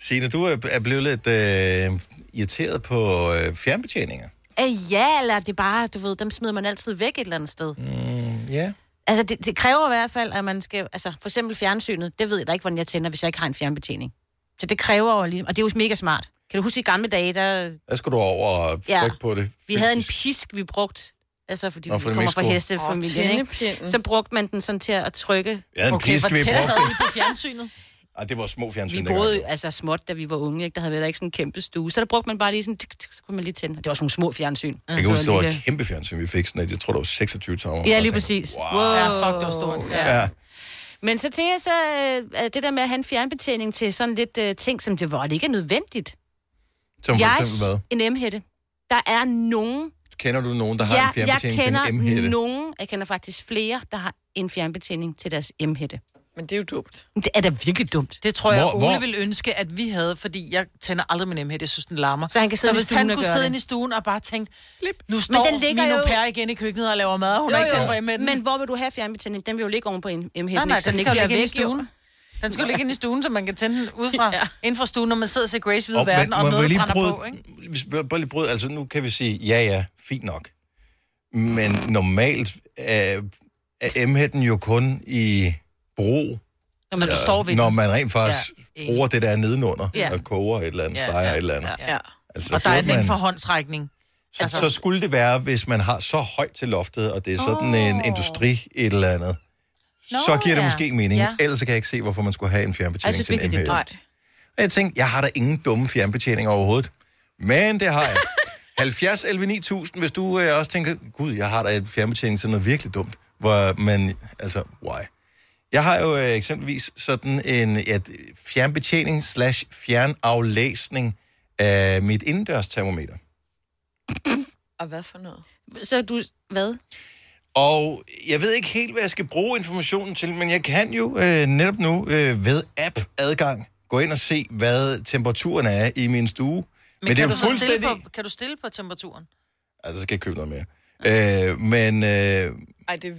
Signe, du er- er blevet lidt øh, irriteret på øh, fjernbetjeninger. Øh, ja, eller det er bare, du ved, dem smider man altid væk et eller andet sted. Mm, ja. Altså, det, det kræver i hvert fald, at man skal... Altså, for eksempel fjernsynet, det ved jeg da ikke, hvordan jeg tænder, hvis jeg ikke har en fjernbetjening. Så det kræver jo lige... Og det er jo mega smart. Kan du huske i gamle dage, der... Der skal du over og trykke Ja. ja. på det. Vi havde en pisk, vi brugte, altså fordi Nå, Nå, for for det vi kommer meste fra skole. hestefamilien, Åh, ikke? tændepinden. Så brugte man den sådan til at trykke. Vi havde en pisk, vi tæt brugte. sad vi på fjernsynet? Ej, det var små fjernsyn Vi dengang. boede jo, altså småt, da vi var unge, ikke? Der havde vi da ikke sådan en kæmpe stue. Så der brugte man bare lige sådan, tuk, tuk, så kunne man lige tænde. Det var sådan nogle små fjernsyn. Jeg kan huske, det var lige et kæmpe fjernsyn, vi fik sådan et, jeg tror, det var 26 tommer. Ja, lige præcis. Wow. Ja, fuck, det var stort. Ja. ja. Men så tænker jeg så, øh, at det der med at have en fjernbetjening til sådan lidt øh, ting, som det var, det ikke er nødvendigt. Som for jeg er eksempel hvad? en M-hætte. Der er nogen... Kender du nogen, der har en jeg, jeg kender fjernbetjening til en M-hætte? nogen, jeg kender faktisk flere, der har en fjernbetjening til deres M-hætte. Men det er jo dumt. Det er da virkelig dumt. Det tror jeg, Hvor- hvor, Ole hvor- ville ønske, at vi havde, fordi jeg tænder aldrig min emhed, jeg synes, den larmer. Så han kan sidde så i hvis stuen han og kunne gøre sidde det. inde i stuen og bare tænke, nu står den min ligger jo... jo- pære igen i køkkenet og laver mad, og hun er ikke tændt for emheden. Men hvor vil du have fjernbetjening? Den vil jo ligge oven på en M-hætte. Nej, nej, så den ikke skal jo ligge inde bliver i væk, jo. stuen. Den skal jo ligge inde i stuen, så man kan tænde den ud fra, ja. inden for stuen, når man sidder og ser Grace Hvide Og, Verden, og må jeg noget lige brænder bryde- på, ikke? Hvis vi bare lige bryde, altså nu kan vi sige, ja ja, fint nok. Men normalt er, er M-hætten jo kun i brug, Når man står ved den. når man rent faktisk Ja, ja, enig. bruger det, der er nedenunder, Ja. ja. og koger et eller andet, Ja, ja, steger ja, ja, et eller andet. Ja. ja. Altså, Og der er burde den man- for håndtrækning. Altså. Så skulle det være, hvis man har så højt til loftet, og det er sådan oh. en industri et eller andet, Nå, så giver det ja. måske mening. Ja. Ja. Ellers så kan jeg ikke se, hvorfor man skulle have en Jeg fjernbetjening synes til en virkelig, det er MHL. dumt. Og jeg tænkte, jeg har da ingen dumme fjernbetjeninger overhovedet. Men det har jeg. 70 11 9000, hvis du øh, også tænker, gud, jeg har da en fjernbetjening til noget virkelig dumt. Hvor man, altså, why? Jeg har jo øh, eksempelvis sådan en ja, d- fjernbetjening slash fjernaflæsning af mit indendørstermometer. Og hvad for noget? Så du... Hvad? Og jeg ved ikke helt, hvad jeg skal bruge informationen til, men jeg kan jo øh, netop nu øh, ved app-adgang gå ind og se, hvad temperaturen er i min stue. Men, Men, men det er kan, du jo så stille fuldstændig... på, kan du stille på temperaturen? Altså, så skal jeg købe noget mere. Øh, men, øh, Ej, det er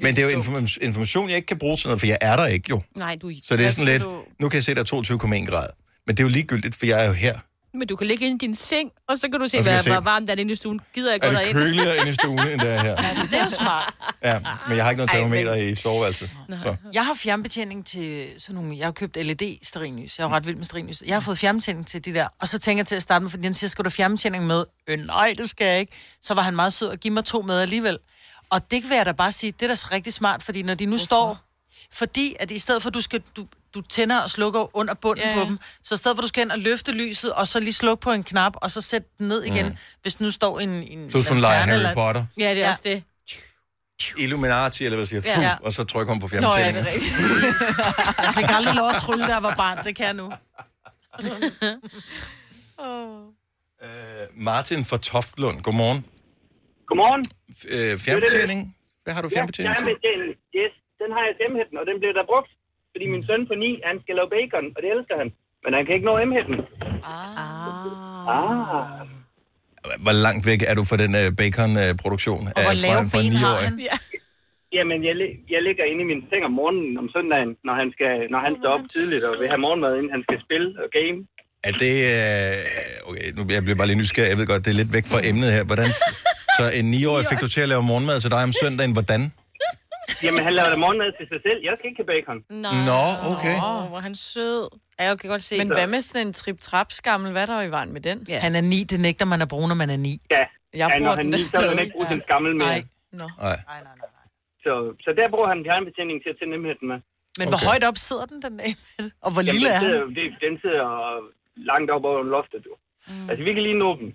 men det er jo inform- information, jeg ikke kan bruge til noget, for jeg er der ikke jo. Nej, du... er- Så det er Hvad sådan skal lidt, du- nu kan jeg se, der er 22,1 grader. Men det er jo ligegyldigt, for jeg er jo her. Men du kan ligge inde i din seng, og så kan du se, Og så kan hvad, jeg se- hvor varmt der er inde i stuen. Gider jeg gå Er derind? det køligere inde i stuen, end det er her? Det er jo smart. Ja, men jeg har ikke noget Ej, men- termometer i soveværelset. Så. Jeg har fjernbetjening til sådan nogle... Jeg har købt led sterinlys. Jeg er jo ret vild med sterinlys. Jeg har fået fjernbetjening til de der. Og så tænker jeg til at starte med, fordi han siger, skal du have fjernbetjening med? Øh, nej, det skal jeg ikke. Så var han meget sød og give mig to med alligevel. Og det vil jeg da bare sige, det er da så rigtig smart, fordi når de nu Hvorfor? står... Fordi at i stedet for, du skal... Du, du tænder og slukker under bunden Ja, yeah. ja. på dem. Så i stedet for, du skal ind og løfte lyset, og så lige slukke på en knap, og så sætte den ned igen, mm. Mm. hvis den nu står en... en Så sådan leger lanterne Harry eller- Potter. Ja, det er ja. også det. Illuminati, eller hvad siger, Ja. fuh, Ja. og så trykker hun på Nå, ja, det er fjernbetjeningen. rigtigt. Jeg fik aldrig lov at trylle, da jeg var barn. Det kan jeg nu. Øh, Martin fra Toftlund, godmorgen. Godmorgen. Øh, fjernbetjening? Hvad har du fjernbetjening til? til? Fjernbetjening, yes. Den har jeg til M-hætten, og den bliver der brugt. Fordi min Mm. søn på 9, han skal lave bacon, og det elsker han. Men han kan ikke nå M-hætten. Ah. ah. Hvor langt væk er du fra den øh, baconproduktion? Øh, Og Ja. Jamen, jeg, lig- jeg ligger inde i min seng om morgenen om søndagen, når han, skal, når han står op tidligt og vil have morgenmad, inden han skal spille og game. Er det... Øh, okay, nu jeg bliver bare lige nysgerrig. Jeg ved godt, det er lidt væk fra emnet her. Hvordan, så en 9-årig fik du til at lave morgenmad til dig om søndagen. Hvordan? Jamen, han laver da morgenmad til sig selv. Jeg skal ikke have bacon. Nå, Nå, okay. Åh, hvor er han sød. Ja, jeg kan godt se. Men hvad med sådan en trip-trap-skammel? Hvad er der i vejen med den? Han er ni, det nægter man at bruge, når man er ni. Ja, Jeg ja, bruger når han den lige, der så vil han stadig. ikke bruge den gammel mere. Nej. Nej. Så, så der bruger han fjernbetjening til at tænde emhætten med. Men hvor højt op sidder den, den emhed? Og hvor lille er den? han? Sidder, det, den sidder langt op over loftet, du. Mm. Altså, vi kan lige nå den.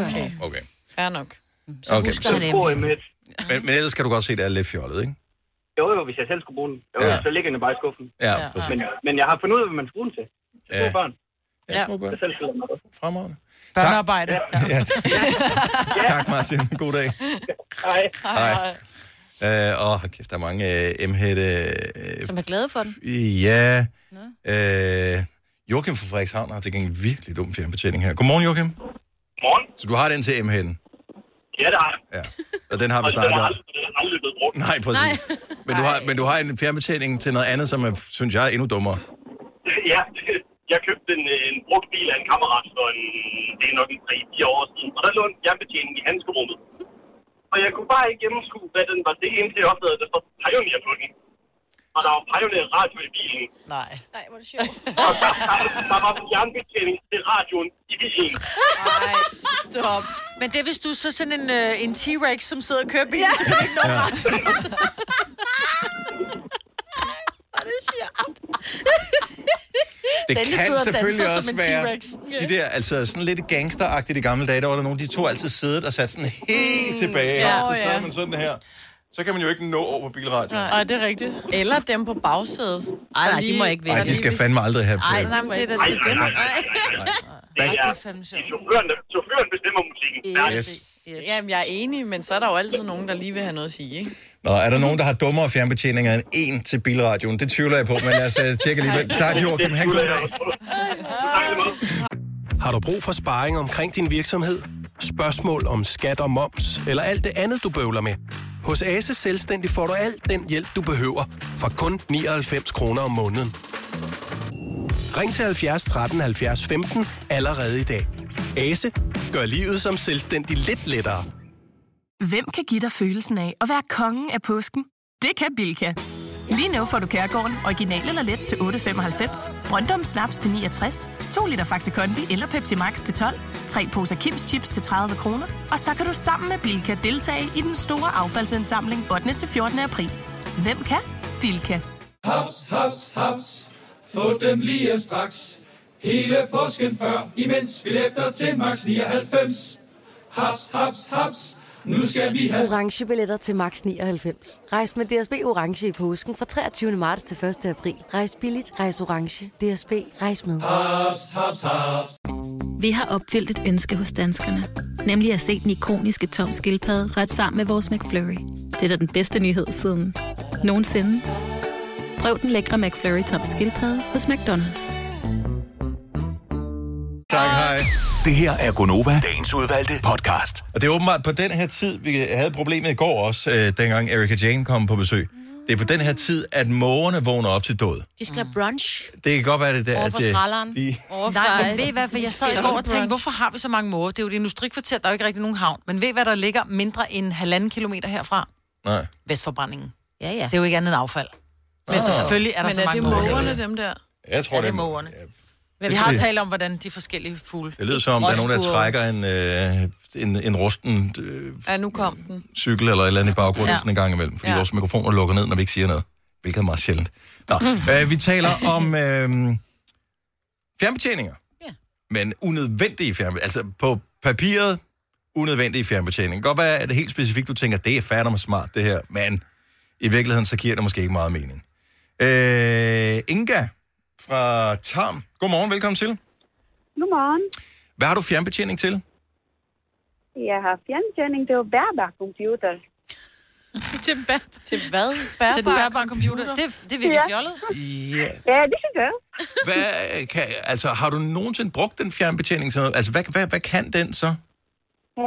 Okay. Okay. Fair nok. Så Okay, husker så- han bruger emhætten. emhæt. Men, men ellers kan du godt se, det er lidt fjollet, ikke? Jo, jo, hvis jeg selv skulle bruge den. Jo, ja. Ja. så ligger den bare i skuffen. Ja, Ja. præcis. Men, men jeg har fundet ud af, hvad man skulle bruge den til. Små Ja. børn. Ja, små børn. Jeg selv spiller noget. Fremragende. Børnearbejde. Ja. tak, Martin. God dag. Hej. Hej. Øh, åh, kæft, der er mange øh, M-hætte... Øh, Som er glade for den. Ja. Øh, Joachim fra Frederikshavn har til gengæld virkelig dum fjernbetjening her. Godmorgen, Joachim. Morgen. Så du har den til M-hætten, Ja, der er. Ja. og den har vi Og den snakket er om. aldrig, den er aldrig blevet brugt. Nej, præcis. Men du, har, men du har en fjernbetjening til noget andet, som er, synes jeg er endnu dummere. ja, jeg købte en, øh, en brugt bil af en kammerat for en, det er nok en 3-4 år siden. Og der lå en fjernbetjening i handskerummet. Og jeg kunne bare ikke gennemskue, hvad den var. Det indtil jeg opdagede, at der står Pioneer på den. Og der var Pioneer radio i bilen. Nej. Nej, hvor er det sjovt. og der, der, der var fjernbetjening til radioen i bilen. Nej, stop. Men det er, hvis du er så sådan en, øh, en T-Rex, som sidder og kører bilen, så kan du ikke nå Ja. ja. Det Dennis kan sidder og selvfølgelig danser også som en være T-Rex. de der, altså sådan lidt gangsteragtigt i gamle dage, der var der nogen, de to altid siddet og sat sådan helt tilbage, ja. ja, og Åh, så ja. sad man sådan her. Så kan man jo ikke nå over på bilradioen. Nej, det er rigtigt. Eller dem på bagsædet. Ej, nej, de må ikke Nej, de skal fandme aldrig have Nej, på. nej, men det er da til dem. Det Ej, det er er, det er chaufføren, der, chaufføren bestemmer musikken. Yes. yes. Jamen, jeg er enig, men så er der jo altid nogen, der lige vil have noget at sige, ikke? Nå, er der Mhm. nogen, der har dummere fjernbetjeninger end en til bilradioen? Det tvivler jeg på, men lad os uh, tjekke alligevel. Tak, Joachim. Ha' en god dag. Har du brug for sparring omkring din virksomhed? Spørgsmål om skat og moms, eller alt det andet, du bøvler med? Hos Ase Selvstændig får du alt den hjælp, du behøver, for kun 99 kroner om måneden. Ring til 70 13 70 15 allerede i dag. Ase gør livet som selvstændig lidt lettere. Hvem kan give dig følelsen af at være kongen af påsken? Det kan Bilka! Lige nu får du Kærgården original eller let til 8.95, Brøndum Snaps til 69, 2 liter Faxi Kondi eller Pepsi Max til 12, 3 poser Kims Chips til 30 kroner, og så kan du sammen med Bilka deltage i den store affaldsindsamling 8. til 14. april. Hvem kan? Bilka. Haps, haps, haps. Få dem lige straks. Hele påsken før, imens billetter til max 99. Haps, haps, haps. Nu skal vi have... orange billetter til max 99. Rejs med DSB orange i påsken fra 23. marts til 1. april. Rejs billigt, rejs orange. DSB rejs med. Haps, haps, haps. Vi har opfyldt et ønske hos danskerne. Nemlig at se den ikoniske tom skildpadde ret sammen med vores McFlurry. Det er da den bedste nyhed siden nogensinde. Prøv den lækre McFlurry tom skildpadde hos McDonald's. Tak, hej. Det her er Gonova, dagens udvalgte podcast. Og det er åbenbart på den her tid, vi havde problemet i går også, øh, dengang Erika Jane kom på besøg. Det er på den her tid, at mågerne vågner op til død. De skal have brunch Det kan godt være, det der, overfor øh, skralderen. de, Nej, men ved I hvad, for jeg sad i Selv går og brunch. tænkte, hvorfor har vi så mange måger? Det er jo et industrikvarter, der er jo ikke rigtig nogen havn. Men ved I hvad, der ligger mindre end halvanden kilometer herfra? Nej. Vestforbrændingen. Ja, ja. Det er jo ikke andet end affald. Men Ah. selvfølgelig er der Men så er mange det mågerne, dem der? Jeg tror, ja, det det er er- mågerne. Hvem- Vi har Det- talt om, hvordan de forskellige fugle... Det lyder som om, der er nogen, der trækker en, øh, en, en rusten øh, Ja, nu kom den. cykel eller et eller andet i baggrunden Ja. ja. sådan en gang imellem, fordi Ja. ja. vores mikrofoner lukker ned, når vi ikke siger noget, hvilket er meget sjældent. Nå, øh, vi taler om øh, fjernbetjeninger, Ja. men unødvendige fjernbetjeninger. Altså på papiret, unødvendige fjernbetjeninger. Det kan godt være, at det helt specifikt, du tænker, det er fandme smart det her, men i virkeligheden, så giver det måske ikke meget mening. Øh, Inga fra Tarm. Godmorgen, velkommen til. Godmorgen. Hvad har du fjernbetjening til? Jeg har fjerntjening. Det er jo bærbar computer. til, hvad? til hvad? Til den bærbare computer. Det, er- det er virkelig Ja. fjollet. Ja. Ja, det synes jeg. Hvad kan, altså, har du nogensinde brugt den fjernbetjening til noget? Altså, hvad, hvad, hvad kan den så?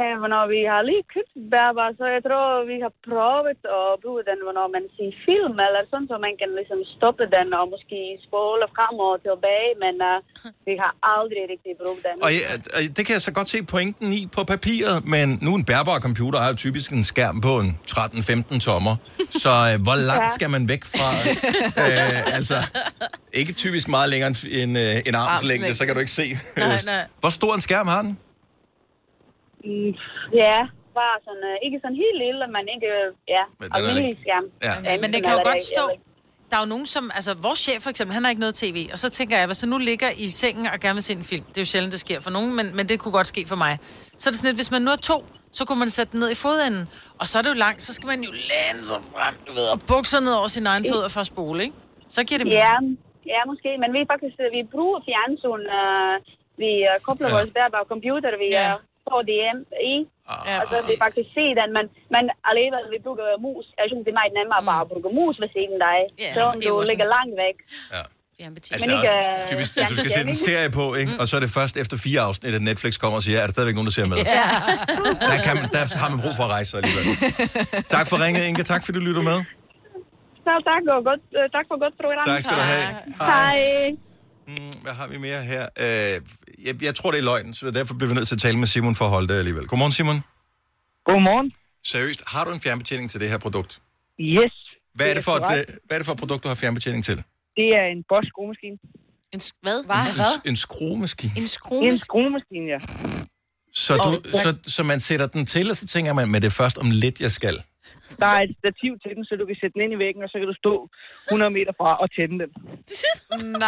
Ja, hvornår vi har lige købt bærbar, så jeg tror, vi har prøvet at bruge den, hvornår man ser film, eller sådan, så man kan ligesom stoppe den og måske spole frem og tilbage, men uh, vi har aldrig rigtig brugt den. Og, ja, og det kan jeg så godt se pointen i på papiret, men nu en bærbar computer har jo typisk en skærm på en 13-15 tommer, så øh, hvor Ja. langt skal man væk fra? Øh, altså, ikke typisk meget længere end en, øh, en armslængde, så kan du ikke se. øh, Nej, nej. Hvor stor en skærm har den? Mm, ja, bare sådan, uh, ikke sådan helt lille, men ikke, øh, ja, Men den er almindelig skærm. Ja. Men det kan jo godt stå... Der er jo nogen, som... Altså, vores chef for eksempel, han har ikke noget tv. Og så tænker jeg, hvis jeg nu ligger i sengen og gerne vil se en film. Det er jo sjældent, det sker for nogen, men, men det kunne godt ske for mig. Så er det sådan lidt, hvis man nu er to, så kunne man sætte den ned i fodenden. Og så er det jo langt, så skal man jo læne sig frem, du ved, og bukser ned over sin egen fødder for at spole, ikke? Så giver det Ja, ja, måske. Men vi faktisk, vi bruger fjernsyn. øh, vi øh, kobler ja. vores bærbare computer, vi ja. får det hjem i. Ja, og så vi faktisk se den, men, men alligevel, vi bruger mus. Jeg synes, det er meget nemmere bare at bruge mus ved siden af dig. Ja, så om det er du jo også ligger langt væk. Altså, Men det er ikke, også øh, typisk, at du skal sætte en fjernbetjening. Mm. serie på, ikke? og så er det først efter fire afsnit, at Netflix kommer og siger, er der stadigvæk nogen, der ser med? Ja. Der, kan man, der har man brug for at rejse sig alligevel. Tak for ringet, Inge. Tak fordi du lytter med. Så tak, og godt, øh, tak for godt program. Tak skal du have. Hej. Mm, Hvad har vi mere her? Øh, jeg, jeg tror, det er løgn, så derfor bliver vi nødt til at tale med Simon for at holde det alligevel. Godmorgen, Simon. Godmorgen. Seriøst, har du en fjernbetjening til det her produkt? Yes. Hvad er det for, et, korrekt. øh, hvad er det for et produkt, du har fjernbetjening til? Det er en Bosch skruemaskine. En hvad? En, en skruemaskine. En skruemaskine? En skruemaskine, ja. Så, du, så, så man sætter den til, og så tænker man, men det er først om lidt, jeg skal. Der er et stativ til den, så du kan sætte den ind i væggen, og så kan du stå 100 meter fra og tænde den.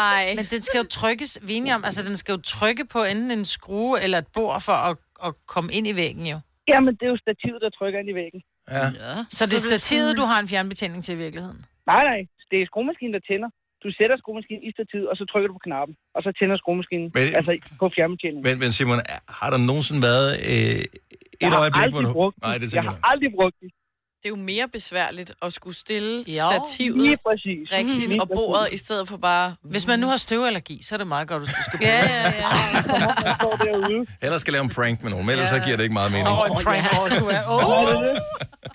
Nej. Men den skal jo trykkes, vi er enige om, altså den skal jo trykke på enten en skrue eller et bord for at, at komme ind i væggen jo. Jamen, det er jo stativet, der trykker ind i væggen. Ja. Så det er stativet, du har en fjernbetjening til i virkeligheden? Nej, nej. Det er skruemaskinen, der tænder. Du Du sætter skruemaskinen i stativ, og så trykker du på knappen, og så tænder skruemaskinen, men, altså på fjernbetjeningen. Men, men Simon, er- har der nogensinde været øh, et Jeg har øjeblik, hvor aldrig du... brugt den. Nej, det Jeg tænker har aldrig brugt den. Det er jo mere besværligt at skulle stille Jo, jo, stativet lige præcis. rigtigt Lige og bordet præcis. i stedet for bare... Hvis man nu har støvallergi, så er det meget godt, at du skal bruge Ja, den. ja, jeg. Ellers skal jeg lave en prank med nogen, men ellers så giver det ikke meget mening. Åh, en prank, hvor du er- Åh! Hvad er det?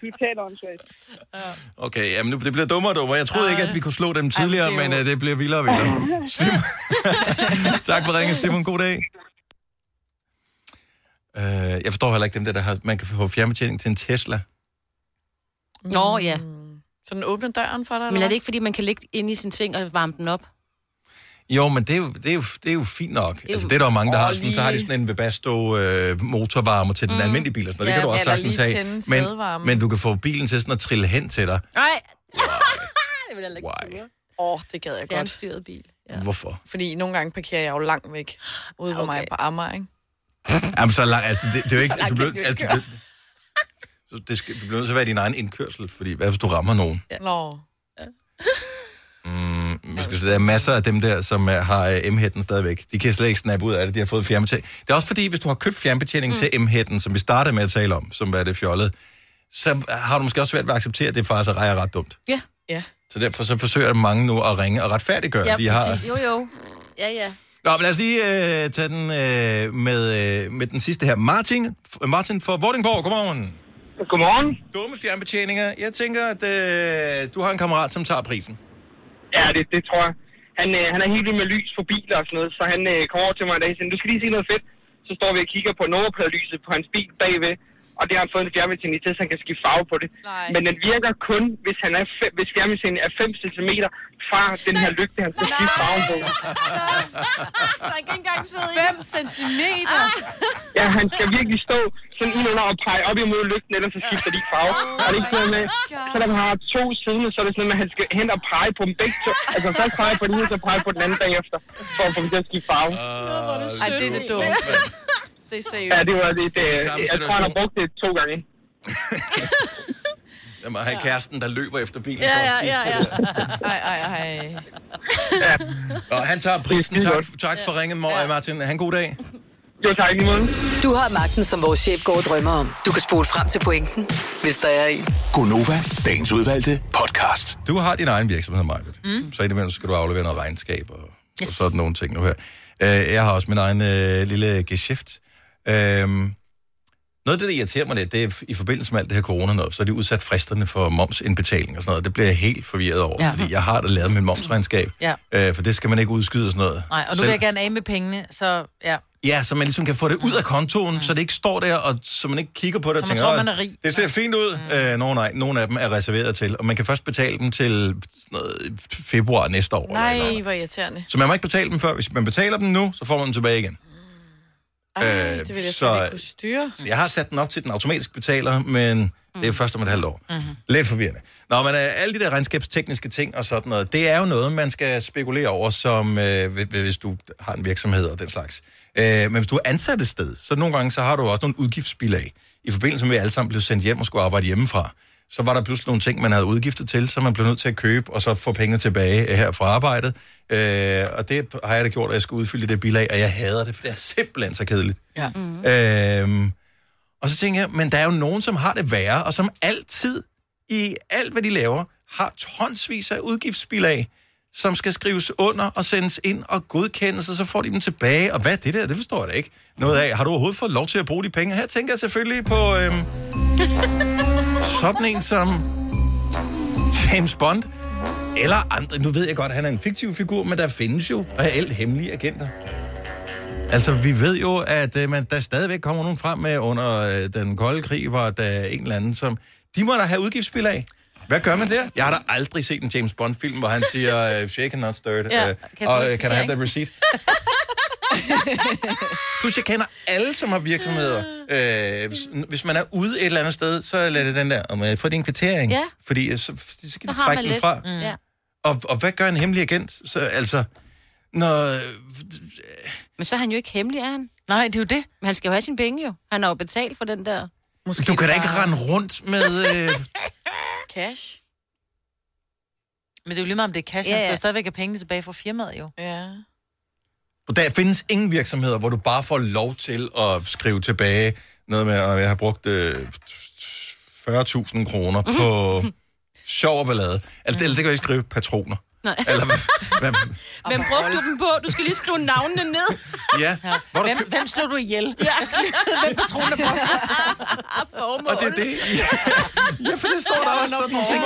Totalt åndssvagt. Okay, jamen, nu, det bliver dummere og dummere. Jeg troede ikke, at vi kunne slå dem tidligere, det er jo- men øh, det bliver vildere og vildere. Simon. tak for ringen, Simon. God dag. Uh, jeg forstår heller ikke dem der, der har, man kan få fjernbetjening til en Tesla. Nå, ja. Mm. Så den åbner døren for dig, Men er det ikke, fordi man kan ligge inde i sin seng og varme den op? Jo, men det er jo, det er jo, det er jo fint nok. Det er jo- jo... Altså, det er der jo mange, der Åh, har. Sådan, så har de sådan en Webasto øh, motorvarmer til den Mm. almindelige bil og sådan noget. Ja, det kan du også eller lige sagtens have. tænde Men, sædevarmen. men du kan få bilen til sådan at trille hen til dig. Nej. det vil jeg ikke Why? Åh, oh, det gad jeg Det er en godt. styret bil. Ja. Hvorfor? Fordi nogle gange parkerer jeg jo langt væk, ude hvor okay. mig på Amager, ikke? Jamen, så langt, altså, det, det er jo ikke... Så langt Du bliver, kan du ikke altså, du bliver, så det skal, du bliver nødt til at være din egen indkørsel, fordi hvad hvis du rammer nogen? Mm, Ja. Nå. Vi skal, sige, der er masser af dem der, som øh, har øh, M-hætten stadigvæk. De kan slet ikke snappe ud af det, de har fået fjernbetjening. Det er også fordi, hvis du har købt fjernbetjening mm. til M-hætten, som vi startede med at tale om, som var det fjollede, så har du måske også svært ved at acceptere, at det faktisk er ret dumt. Ja. Ja. Så derfor så forsøger mange nu at ringe og retfærdiggøre, ja, de har. præcis. Jo, jo. Ja, ja. Nå, men lad os lige øh, tage den øh, med, øh, med den sidste her. Martin, f- Martin fra Vordingborg, godmorgen. Godmorgen. Dumme fjernbetjeninger. Jeg tænker, at øh, du har en kammerat, som tager prisen. Ja, det, det tror jeg. Han, øh, han er helt vild med lys på biler og sådan noget, så han øh, kommer over til mig en dag og siger, du skal lige se noget fedt. Så står vi og kigger på nummerpladelyset på hans bil bagved, og det har han fået en fjernbetjening til, så han kan skifte farve på det. Nej. Men den virker kun, hvis, han er fem, hvis fjernbetjeningen er 5 cm fra den her lygte, han skal skifte farven på. Der er ikke engang siddet 5 centimeter. Ja, han skal virkelig stå sådan ind under og pege op imod lygten, ellers så skifter de ikke farve. Oh Og det er ikke sådan noget med, selvom han har to sider, så er det sådan noget med, at han skal hen og pege på dem begge to. Altså først pege på den ene, så pege på den anden bagefter, for at få dem til at skifte farve. Øh, Ej, det er det dumt. Det er seriøst. Ja, det var det. det Samme jeg tror, han har situation. brugt det to gange. Jamen, han kæresten, der løber efter bilen. Ja, for at ja, skifte ja, det. ja. Ej, ej, ej. Og han tager prisen. Tak, tak for ringen, Mor- Martin. Han god dag. Jo, tak lige måde. Du har magten, som vores chef går og drømmer om. Du kan spole frem til pointen, hvis der er en. Gonova, dagens udvalgte podcast. Du har din egen virksomhed, Michael. Mm. Så indimellem skal du aflevere noget regnskab og, yes. og sådan nogle ting nu her. Øh, Jeg har også min egen øh, lille geschæft. Øh, noget af det, der irriterer mig lidt, det er i forbindelse med alt det her corona noget, så er de udsat fristerne for momsindbetaling og sådan noget. Det bliver jeg helt forvirret over, Ja. ja. fordi jeg har da lavet min momsregnskab. Ja. Øh, for det skal man ikke udskyde og sådan noget. Nej, og nu Selv- vil jeg gerne af med pengene, så ja. Ja, så man ligesom kan få det ud af kontoen, mm. så det ikke står der, og så man ikke kigger på det Så og man tænker, tror, "Åh, man er rig." det ser fint ud. Mm. Øh, Nå nej, nogle af dem er reserveret til, og man kan først betale dem til sådan noget, februar næste år. Eller et eller andet. Nej, hvor irriterende. Så man må ikke betale dem før. Hvis man betaler dem nu, så får man dem tilbage igen. Ej, Øh, det vil jeg så- slet ikke kunne Mm. styre. Så jeg har sat den op til den automatiske betaler, men det er først om et halvt år. Mm-hmm. Lidt forvirrende. Nå, men øh, alle de der regnskabstekniske ting og sådan noget, det er jo noget, man skal spekulere over, som øh, hvi- hvis du har en virksomhed og den slags. Øh, men hvis du er ansat et sted, så nogle gange så har du også nogle udgiftsbilag. I forbindelse med, at vi alle sammen blev sendt hjem og skulle arbejde hjemmefra, så var der pludselig nogle ting, man havde udgifter til, som man blev nødt til at købe, og så få pengene tilbage øh, her fra arbejdet. Øh, og det har jeg da gjort, at jeg skulle udfylde det bilag, og jeg hader det, for det er simpelthen så kedeligt. Ja. Mm. Øhm, og så tænker jeg, men der er jo nogen, som har det værre, og som altid, i alt hvad de laver, har tonsvis af udgiftsbilag, som skal skrives under og sendes ind og godkendes, og så får de dem tilbage. Og hvad er det der? Det forstår jeg da ikke. Noget af, har du overhovedet fået lov til at bruge de penge? Her tænker jeg selvfølgelig på øhm, sådan en som James Bond. Eller andre. Nu ved jeg godt, at han er en fiktiv figur, men der findes jo reelt hemmelige agenter. Altså, vi ved jo, at øh, man, der stadigvæk kommer nogen frem med under øh, den kolde krig, hvor der er en eller anden, som... De må da have udgiftsspil af. Hvad gør man der? Jeg har da aldrig set en James Bond-film, hvor han siger, øh, shaken, not stirred, Ja, øh, kan og vi- øh, kan I have ikke? that receipt? Plus, jeg kender alle, som har virksomheder. Øh, hvis, hvis man er ude et eller andet sted, så lad det den der, om øh, få din kvittering. Ja. Fordi øh, så, så kan Så de har trække man den lidt. fra. Mm. Ja. Og, og hvad gør en hemmelig agent? Så, altså, når... Men så er han jo ikke hemmelig, er han? Nej, det er jo det. Men han skal jo have sine penge jo. Han har jo betalt for den der... Måske du kan da ikke rende rundt med... Øh, Cash. Men det er jo lige meget, om det er cash. Ja, Ja, Han skal ja. jo stadigvæk have pengene tilbage fra firmaet, jo. Ja. Og der findes ingen virksomheder, hvor du bare får lov til at skrive tilbage noget med, at jeg har brugt øh, 40.000 kroner på Mhm. sjov og ballade. Altså, det, det kan jeg ikke skrive patroner. Nej. Eller, hvad, Hvem brugte du dem på? Du skal lige skrive navnene ned. ja. Hvor Hvem, hvem slog du ihjel? Ja. Jeg skal lige vide, hvem patronen på. Og det er det. Ja, ja for det står der også sådan nogle ting.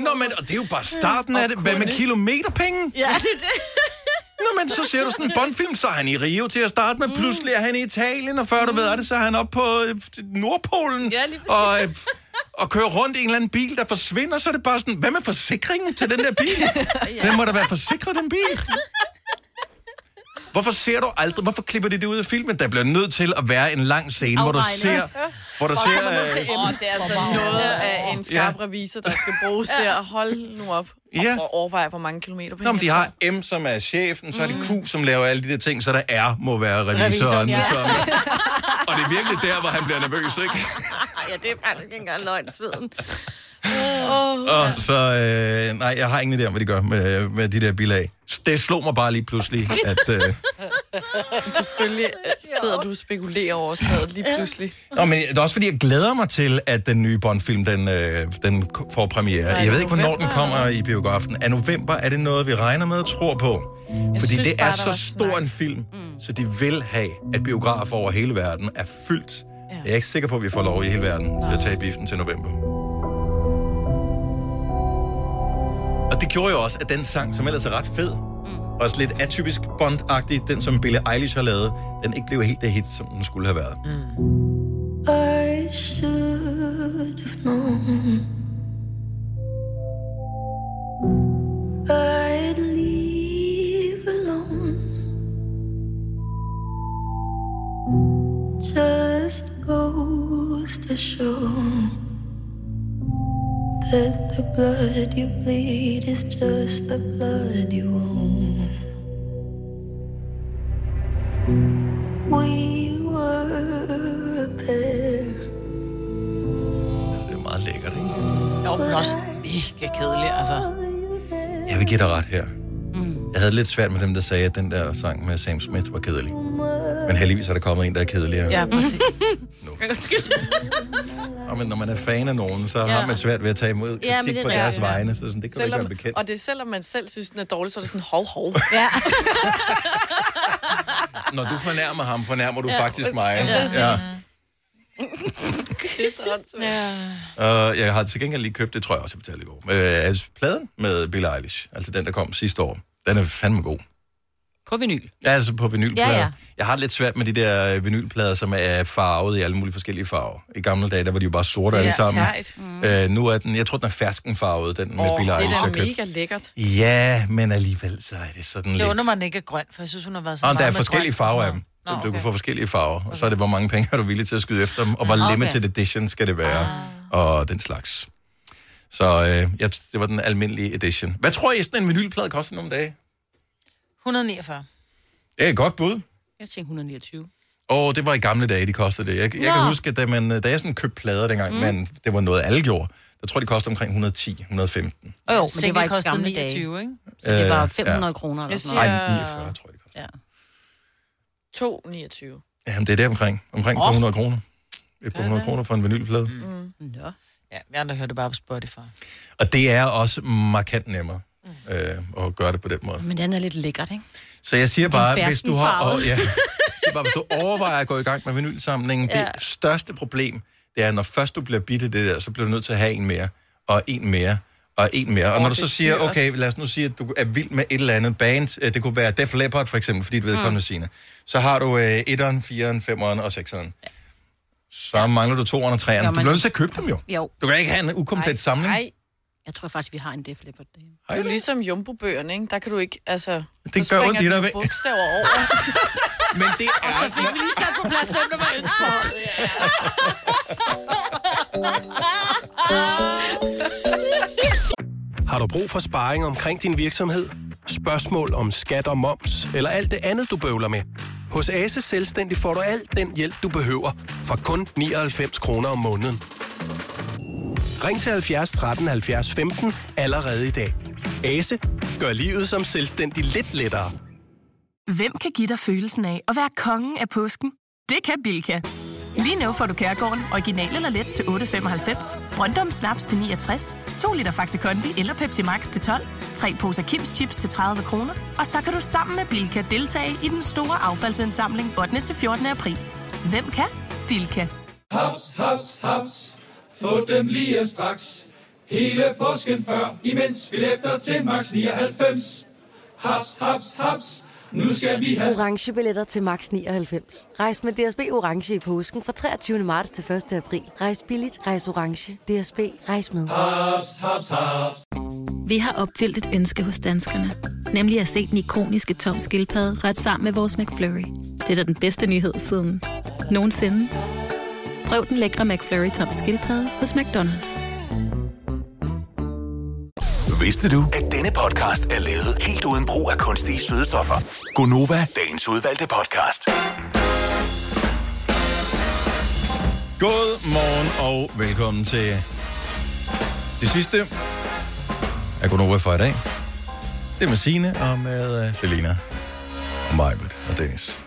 Nå, men og det er jo bare starten af det. Hvad med kilometerpenge? Ja, det er det. Mm. Nå, men så ser du sådan en Bondfilm, så er han i Rio til at starte med, pludselig er han i Italien, og før du ved af det, så er han oppe på øh, Nordpolen, Ja, lige præcis. og, øh, og kører rundt i en eller anden bil, der forsvinder, så er det bare sådan, hvad med forsikringen til den der bil? Ja. Den må da være forsikret, den bil. Hvorfor ser du aldrig, hvorfor klipper de det ud af filmen? Der bliver nødt til at være en lang scene, hvor du ser, hvor du ser, øh, Åh, det er altså noget af en skarp revisor, der skal bruges der. Hold nu op. Ja. Og overvej, hvor mange kilometer på Nå, men de har M, som er chefen, så er det Q, som laver alle de der ting, så der R må være revisoren. ja. Som, og det er virkelig der, hvor han bliver nervøs, ikke? ja, det er faktisk ikke engang løgn, sveden. Åh. Og så, øh, nej, jeg har ingen idé om, hvad de gør med, med de der bilag. Det slog mig bare lige pludselig, at... Øh, Selvfølgelig øh, sidder du og spekulerer over sådan lige pludselig. Nå, men det er også fordi, jeg glæder mig til, at den nye Bond-film, den, øh, den k- får premiere. Nej, jeg ved ikke, hvornår den november. kommer i biografen. Er november, er det noget, vi regner med og tror på? Jeg Fordi synes det bare, er der var så stor en film, mm. så de vil have, at biografer over hele verden er fyldt. Ja. Jeg er ikke sikker på, at vi får lov i hele verden til at tage i biffen til november. Og det gjorde jo også, at den sang, som ellers er ret fed, mm. også lidt atypisk Bond-agtig, den som Billie Eilish har lavet, den ikke blev helt det hit, som den skulle have været. I should have known. I'd leave alone. Just goes to show that the blood you bleed is just the blood you own. We were a pair. Det er meget lækkert, ikke? Jo, men også mega kedelig, altså. Jeg vil give dig ret her. Mm. Jeg havde lidt svært med dem, der sagde, at den der sang med Sam Smith var kedelig. Men heldigvis er der kommet en, der er kedeligere. Ja, præcis. Og men når man er fan af nogen, så ja. har man svært ved at tage imod kritik Ja, ja, men det er på rigtigt, deres ja. vegne. Så sådan, det kan du ikke være bekendt. og det er selvom man selv synes, den er dårlig, så er det sådan hov, hov. Ja. Når du fornærmer ham, fornærmer du Ja, ja, faktisk mig. ja, Ja. præcis. Ja. det er sådan. Ja. Og Øh, jeg har til gengæld lige købt, det tror jeg også, jeg betalte i går, øh, altså, pladen med Billie Eilish, altså den, der kom sidste år. Den er fandme god. På vinyl. Ja, altså på vinylplader. Ja, Ja, ja. ja. Jeg har det lidt svært med de der øh, vinylplader, som er farvet i alle mulige forskellige farver. I gamle dage, der var de jo bare Det sorte er alle sammen. sejt. Mm. Øh, nu er den, jeg tror, den er ferskenfarvet, den med Åh, oh, Billie det Eilish, er jeg da købte. mega lækkert. Ja, men alligevel, så er det sådan Det lidt... undrer mig, den ikke er grøn, for jeg synes, hun har været så Og meget Ah, der er med forskellige grønt og farver af sådan dem. Du okay. kan få forskellige farver, og så er det, hvor mange penge er du villig til at skyde efter dem, og hvor Okay. okay. limited edition skal det være, og den slags. Så øh, jeg, det var den almindelige edition. Hvad tror I, sådan en vinylplade koster nogle dage? noget. 149. Det er et godt bud. Jeg tænkte 129. Og det var i gamle dage, de kostede det. Jeg, jeg kan Nå. huske, at da, man, øh, da jeg sådan købte plader dengang, Mm. mm. men det var noget, alle gjorde, der tror jeg, de kostede omkring 110-115. Oh, jo, Single men det var ikke kostede gamle 29, dage. ikke? Så det var Øh, 500 ja. kroner eller Jeg sådan noget. siger- Ej, 49, tror jeg, det koster. 2,29. Jamen, det er der omkring. Omkring oh. Åh. 100 kroner. Et par 100 kroner for en vinylplade. Mm. Mm. Nå. Ja, vi andre hørte bare på Spotify. Og det er også markant nemmere øh, at gøre det på den måde. Men den er lidt lækkert, ikke? Så jeg siger bare, Den hvis du har, ferskenfarvede. og, ja, jeg siger bare, hvis du overvejer at gå i gang med vinylsamlingen, ja. Ja. det største problem, det er, når først du bliver bitte det der, så bliver du nødt til at have en mere, og en mere, og en mere. Og Åh, når du det er så siger, dyrt. okay, lad os nu sige, at du er vild med et eller andet band, øh, det kunne være Def Leppard for eksempel, fordi du ved, mm. Signe, så har du øh, etteren, fireren, femeren og sekseren. Så mangler du toeren og treeren. Jo, Du men- bliver nødt til at købe dem jo. Jo. Du kan ikke have en ukomplet samling. Nej, Jeg tror faktisk, vi har en Def Leppard. det er jo ligesom jumbo-bøgerne, ikke? Der kan du ikke, altså... så gør springer ondt i dig, dine vel? bogstaver over. Men det er... Og så fik vi lige sat på plads, hvem der var ønske på. Har du brug for sparring omkring din virksomhed? Spørgsmål om skat og moms, eller alt det andet, du bøvler med? Hos Ase Selvstændig får du alt den hjælp, du behøver, for kun 99 kroner om måneden. Ring til 70 13 70 15 allerede i dag. Ase gør livet som selvstændig lidt lettere. Hvem kan give dig følelsen af at være kongen af påsken? Det kan Bilka. Lige nu får du Kærgården original eller let til 8.95, Brøndum Snaps til 69, 2 liter Faxi Kondi eller Pepsi Max til 12, 3 poser Kims Chips til 30 kroner, og så kan du sammen med Bilka deltage i den store affaldsindsamling 8. til 14. april. Hvem kan? Bilka. Haps, haps, haps. Få dem lige straks. Hele påsken før, imens billetter til max 99. Haps, haps, haps. Nu skal vi have... Orange billetter til max 99. Rejs med DSB Orange i påsken fra 23. marts til 1. april. Rejs billigt, rejs orange. DSB, rejs med. Haps, haps, haps. Vi har opfyldt et ønske hos danskerne. Nemlig at se den ikoniske tom skildpadde ret sammen med vores McFlurry. Det er da den bedste nyhed siden nogensinde. Prøv den lækre McFlurry tom skildpadde hos McDonald's. Vidste du, at denne podcast er lavet helt uden brug af kunstige sødestoffer? Gonova. Dagens udvalgte podcast. God morgen og velkommen til det sidste af Gunova for i dag. Det er med Signe og med uh, Selina og Majbet og Dennis.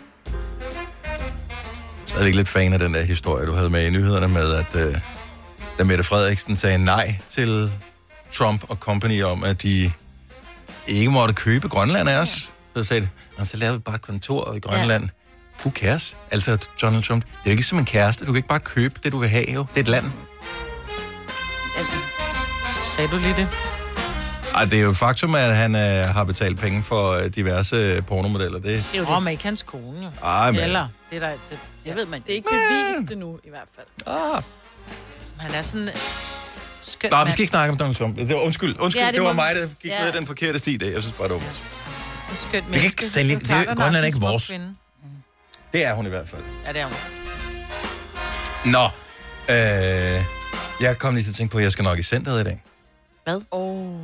Jeg er ikke lidt fan af den der historie, du havde med i nyhederne med, at uh, da Mette Frederiksen sagde nej til Trump og company om, at de ikke måtte købe Grønland af os. Så sagde de, "Nå, så laver vi bare et kontor i Grønland. Who cares? Altså, Donald Trump, det er jo ikke som en kæreste. Du kan ikke bare købe det, du vil have, jo. Det er et land. Sagde du lige det? Ej, det er jo et faktum, at han øh, har betalt penge for øh, diverse øh, pornomodeller. Det, Det er jo det. Åh, men ikke hans kone, jo. Ej, men- Eller, det er der, det, jeg ved man. Det er ikke bevist det nu, i hvert fald. Ah. Han er sådan... øh, Skøn Nej, vi mand. skal ikke snakke om Donald Trump. Det var, undskyld, undskyld Ja, ja, det det, det, var må- mig, der gik Ja. ja. ned ad den forkerte sti. Der. Jeg synes bare, det var dumt. En skøn kan ikke menneske, sælge- som det- Clark og Grønland er Nakken, ikke smuk vores. kvinde. Det er hun i hvert fald. Ja, det er hun. Nå, øh, jeg kom lige til at tænke på, at jeg skal nok i centret i dag. Hvad? Åh,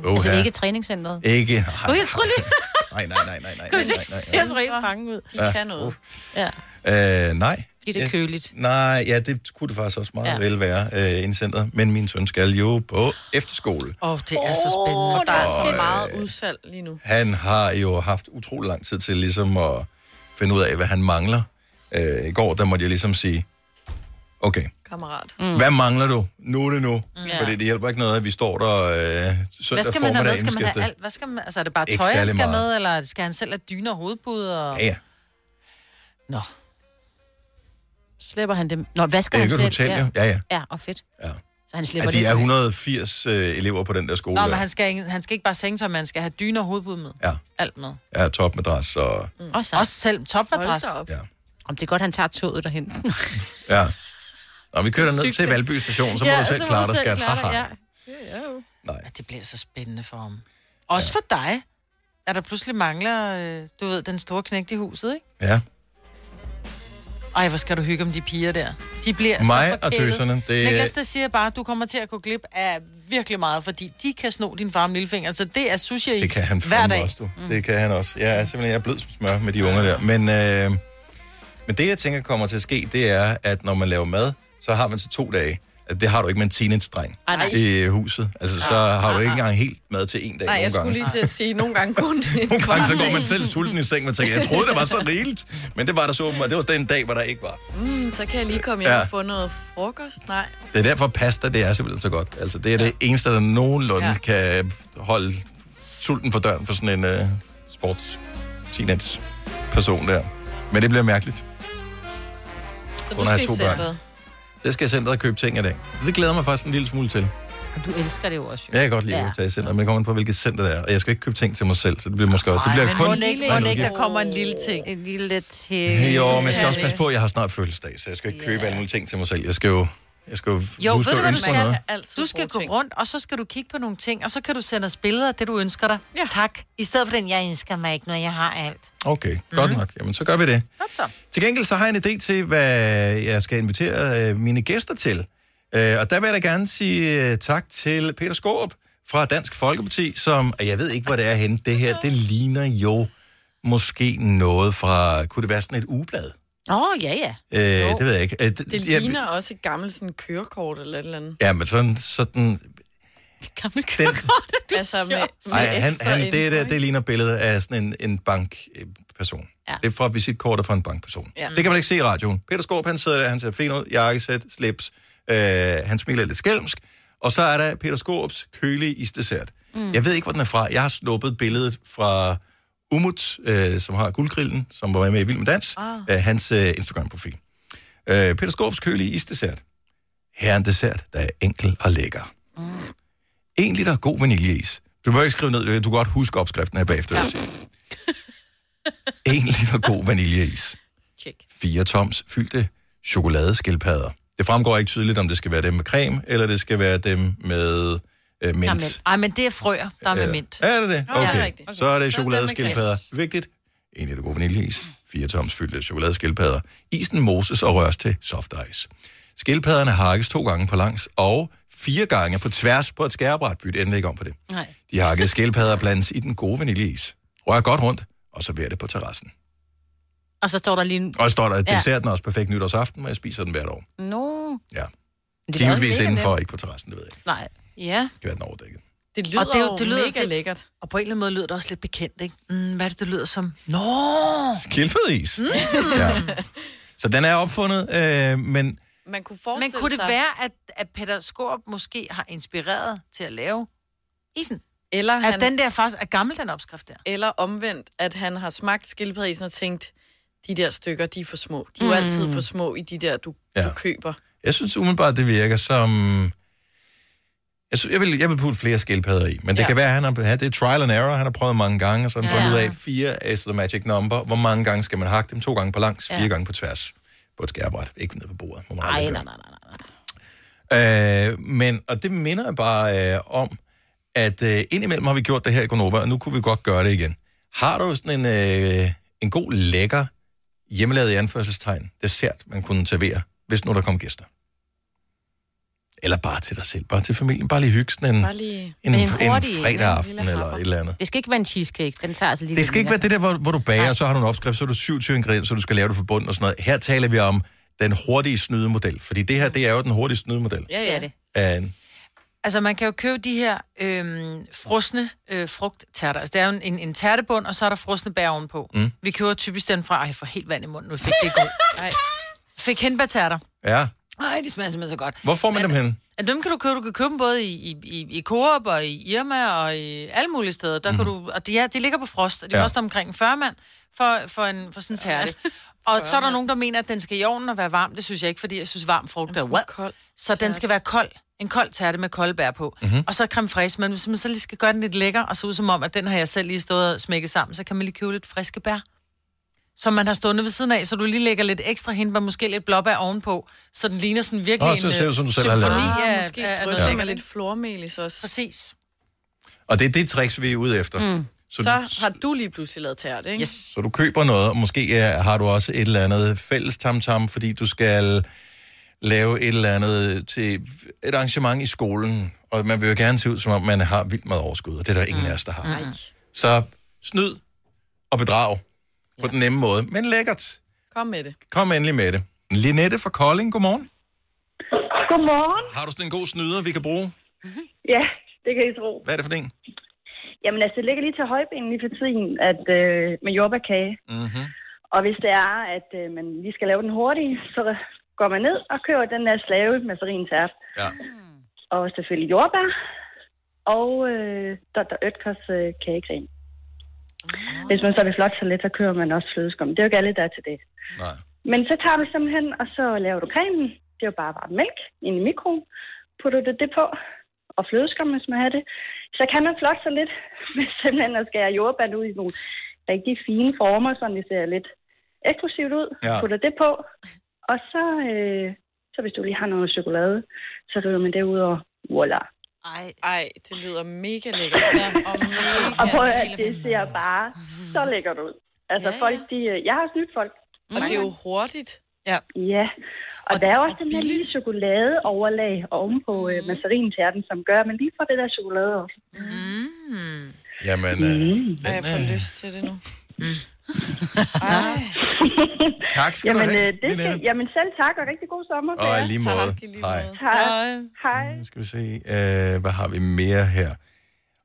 Oh. Altså ja. ikke træningscenteret? Ikke... Gud, jeg tror lige... Nej, nej, nej, nej, nej, Gud, nej, det ser så rigtig bange ud. De Ja. kan noget. Ja. nej. Øh, nej. Fordi det er Ja. køligt. Nej, ja, det kunne det faktisk også meget Ja. ja. vel være øh, inde i centret. Men min søn skal jo på efterskole. Åh, oh, det er så spændende. Og der er Og, øh, så meget udsalg lige nu. Han har jo haft utrolig lang tid til ligesom at finde ud af, hvad han mangler. Øh, I går, der måtte jeg ligesom sige, okay, Kammerat. mm. hvad mangler du? Nu er det nu. Mm. Ja. Fordi det hjælper ikke noget, at vi står der øh, søndag Hvad skal man have med? formiddag. Skal man have indskiftet. alt? Hvad skal man, altså, er det bare Ikke tøj, han særlig skal meget. med, eller skal han selv have dyner og hovedpuder? Og... Ja, ja. Nå. Slipper han dem? Nå, hvad skal Det er han ikke et selv? hotel, jo. Ja, ja. Ja, og fedt. Ja. Så han slipper Ja, de det. er 180 øh, elever på den der skole. Nå, men der. han skal, ikke- han skal ikke bare sænge sig, men han skal have dyner og hovedpude med. Ja. Alt med. Ja, topmadras og... Mm. Også, Også selv topadresse. Hold da op. Ja. Om det er godt, han tager toget derhen. Ja. Nå, vi kører ned Cykle. til Valby station, så må Ja, du selv så må klare du dig, selv skat. klare dig, Haha. ja. Nej. Det bliver så spændende for ham. Også for dig. Er der pludselig mangler, øh, du ved, den store knægt i huset, ikke? Ja. Ej, hvor skal du hygge om de piger der. De bliver Mig så og forkælet. tøserne, det- Niklas, det siger bare, at du kommer til at gå glip af virkelig meget, fordi de kan sno din farm lillefinger. Så det er sushi Det kan han hver fandme dag. Mm. også, du. Det kan han også. Jeg er simpelthen jeg er blød som smør med de unger der. Men, øh, men det, jeg tænker kommer til at ske, det er, at når man laver mad, så har man så to dage. At Det har du ikke med en teenage-dreng Ej, nej. Ah. i huset. Altså, så har du ikke engang helt mad til en dag Nej, jeg nogle skulle gange. lige til at sige, nogle gange kun en Nogle gange, så går kvart. man selv sulten i seng, og tænker, jeg troede, det var så rigeligt, men det var der så åbenbart. Det var den dag, hvor der ikke var. Mm, så kan jeg lige komme hjem Ja. og få noget frokost. Nej. Det er derfor, pasta, det er simpelthen så godt. Altså, det er det eneste, der nogenlunde Ja. ja. kan holde sulten for døren for sådan en uh, sports person der. Men det bliver mærkeligt. Så Kun du at skal have i to børn. centret. Så jeg skal i centret og købe ting i dag. Det glæder mig faktisk en lille smule til. Og du elsker det jo også. Jo. Jeg kan godt lide at tage i centret, men det kommer an på, hvilket center det er. Og jeg skal ikke købe ting til mig selv, så det bliver måske... det bliver men kun... Må ikke, Nej, må nu- ikke, ja. der kommer en lille ting. En lille ting. Jo, men jeg skal også passe på, at jeg har snart fødselsdag, så jeg skal ikke købe alle mulige ting til mig selv. Jeg skal jo, jeg skal jo Jo, huske ved du hvad at du ønske mig noget. skal? Du skal gå rundt, og så skal du kigge på nogle ting, og så kan du sende os billeder af det, du ønsker dig. Ja. Tak. I stedet for den, jeg ønsker mig ikke, når jeg har alt. Okay, godt Mhm. nok. Jamen, så gør vi det. Godt så. Til gengæld så har jeg en idé til, hvad jeg skal invitere øh, mine gæster til. Øh, og der vil jeg da gerne sige øh, tak til Peter Skåb fra Dansk Folkeparti, som, og jeg ved ikke, hvor det er henne, det her, det ligner jo måske noget fra, kunne det være sådan et ugeblad? Åh, oh, ja, ja. Øh, det ved jeg ikke. Øh, Det ligner også et gammelt sådan, kørekort eller et eller andet. Ja, men sådan, sådan... Gammel Den, det altså, med, med ej, han, ekstra han, det, der, info, det ligner et billede af sådan en, en bankperson. Ja. Det er fra visitkortet fra en bankperson. Ja. Ja. Det kan man ikke se i radioen. Peter Skorp, han sidder der, han ser fin ud, jakkesæt, slips, øh, han smiler lidt skælmsk. Og så er der Peter Skorps kølige isdessert. Mm. Mm. Jeg ved ikke, hvor den er fra. Jeg har snuppet billedet fra Umut, øh, som har guldgrillen, som var med i Vild med Dans, Ah. ah. øh, hans øh, Instagram-profil. Øh, Peter Skorps kølige isdessert. Her er en dessert, der er enkel og lækker. Mm. En liter god vaniljeis. Du må ikke skrive ned, du kan godt huske opskriften her bagefter. Ja. en liter god vaniljeis. Check. Fire toms fyldte chokoladeskildpadder. Det fremgår ikke tydeligt, om det skal være dem med creme, eller det skal være dem med øh, mint. Der er mint. Ej, men det er frøer, der er med Eller- mint. Er det det? Nå, Okay. ja, det er Ja, rigtigt. okay. Så Så er det er det med chokoladeskildpadder. glas. Vigtigt. En liter god vaniljeis. Fire toms fyldte chokoladeskildpadder. Isen moses og røres til soft ice. Skildpadderne hakkes to gange på langs og fire gange på tværs på et skærebræt. Byt endelig ikke om på det. Nej. De hakkede skildpadder blandes i den gode vaniljeis. Rør godt rundt, og server det på terrassen. Og så står der lige en... Og så står der, at Ja. desserten er også perfekt nytårsaften, og jeg spiser den hvert år. Nå. Ja. Men det er da også Givetvis mega indenfor, nemt. ikke på terrassen, det ved jeg ikke. Nej. Ja. Det kan være den overdækket. Det lyder, og det, er jo- jo det lyder mega det, lækkert. Og på en eller anden måde lyder det også lidt bekendt, ikke? Mm, hvad er det, det lyder som? Nå! Skildpadderis. Mm. Ja. Så den er opfundet, øh, men Man kunne Men forestille kunne det sig- være, at, at Peter Skorp måske har inspireret til at lave isen? Eller at den der faktisk er gammel, den opskrift der. Eller omvendt, at han har smagt skildpaddeisen og tænkt, de der stykker, de er for små. De er jo Mm. altid for små i de der, du, ja. du køber. jeg synes umiddelbart, det virker som... Jeg, synes, jeg, vil, jeg vil putte flere skildpadder i, men det Ja. ja. kan være, at han har, han- det er trial and error, han har prøvet mange gange, og så har han Ja. ja. fundet ud af, fire is the magic number. Hvor mange gange skal man hakke dem? To gange på langs, fire Ja. gange på tværs. På et skærbræt, ikke ned på bordet. Må man Ej, aldrig nej, gøre. nej, nej. nej. Øh, men, og det minder jeg bare øh, om, at øh, indimellem har vi gjort det her i Gonova, og nu kunne vi godt gøre det igen. Har du sådan en, øh, en god, lækker, hjemmelavet i anførselstegn, dessert, man kunne servere, hvis nu der kom gæster? Eller bare til dig selv, bare til familien, bare lige hygge sådan en, Bare lige- Mm. en, Men en, en hurtig en, fredag en aften lille eller et eller andet. Det skal ikke være en cheesecake. Den tager altså lige Det skal ikke være det der, hvor, hvor du bager, og så har du en opskrift, så er du 27 ingredienser, så du skal lave det for bunden og sådan noget. Her taler vi om den hurtige snydemodel, fordi det her, det er jo den hurtige snydemodel Øh, Ja, ja. Det. af en Altså, man kan jo købe de her øhm, frosne øh, frugttærter. Altså, der er jo en- en, en tærtebund, og så er der frosne bær ovenpå. Mm. Mm. Vi køber typisk den fra... Ej, jeg får helt vand i munden. Nu fik det godt. Fik hindbærtærter. Ja. Ej, de smager simpelthen så godt. Hvor får man dem hen? Ja, dem kan du købe. Du kan købe dem både i, i, i, i Coop og i Irma og i alle mulige steder. Der mm. kan du, og de, ja, de ligger på frost, og de ja. Mhm. Ja. koster omkring en 40 mand for, for, en, for sådan en tærte. Og så er der nogen, der mener, at den skal i ovnen og være varm. Det synes jeg ikke, fordi jeg synes, varm frugt er what? Kold Så den skal være kold. En kold tærte med kolde bær på. Mm-hmm. Mhm. Og så creme fraiche. Men hvis man så lige skal gøre den lidt lækker, og så ud som om, at den har jeg selv lige stået og smækket sammen, så kan man lige købe lidt friske bær som man har stående ved siden af, så du lige lægger lidt ekstra hindbær, måske lidt blåbær ovenpå, så den ligner sådan virkelig Åh, så en øh, ser det ud, som du selv har symfoni lavet. af, Ah, måske af, af drysser noget. med lidt flormel i også. Præcis. Og det er det tricks, vi er ude efter. Mm. Mm. Så, Så så har du lige pludselig lavet tært, ikke? Yes. Så du køber noget, og måske ja, har du også et eller andet fælles tamtam, fordi du skal lave et eller andet til et arrangement i skolen, og man vil jo gerne se ud, som om man har vildt meget overskud, og det er der ingen af os, der Mm. har. Nej. Så snyd og bedrag på den nemme måde, men lækkert. Kom med det. Kom endelig med det. Linette fra Kolding, godmorgen. Godmorgen. Har du sådan en god snyder, vi kan bruge? Ja, det kan I tro. Hvad er det for en? Jamen altså, det ligger lige til højbenen lige for tiden at, øh, med jordbærkage. Mm-hmm. Og hvis det er, at øh, man lige skal lave den hurtigt, så går man ned og køber den der slave med farin tært. Ja. Og selvfølgelig jordbær. Og øh, Dr. Øtkers øh, kagecreme. Hvis man så vil flot så lidt, så kører man også flødeskum. Det er jo ikke alle, der er til det. Nej. Men så tager du simpelthen, og så laver du cremen. Det er jo bare varm mælk ind i mikroen. Putter du det på, og flødeskum, hvis man har det. Så kan man flot så lidt med simpelthen at skære jordbær ud i nogle rigtig fine former, så det ser lidt eksklusivt ud. Ja. Ja. Putter det på, og så, øh, så hvis du lige har noget chokolade, så ryger man det ud og voilà. Ej. Ej, det lyder mega lækkert. Ja, og mega Og prøv at høre, det ser bare så lækkert ud. Altså ja, ja. folk, de, øh, jeg har snydt folk. Og det er jo hurtigt. Ja. Ja, og, og der er jo også den her lille chokoladeoverlag ovenpå mm. mazarintærten, som gør, at man lige får det der chokolade også. Mm. Jamen, øh, den, Ej, jeg får lyst til det nu. Tak skal jamen, du have, øh, det skal, Lynette. jamen selv tak, og rigtig god sommer. til Og i jer. lige måde. Hej. Hej. Hej. Nu skal vi se, øh, hvad har vi mere her?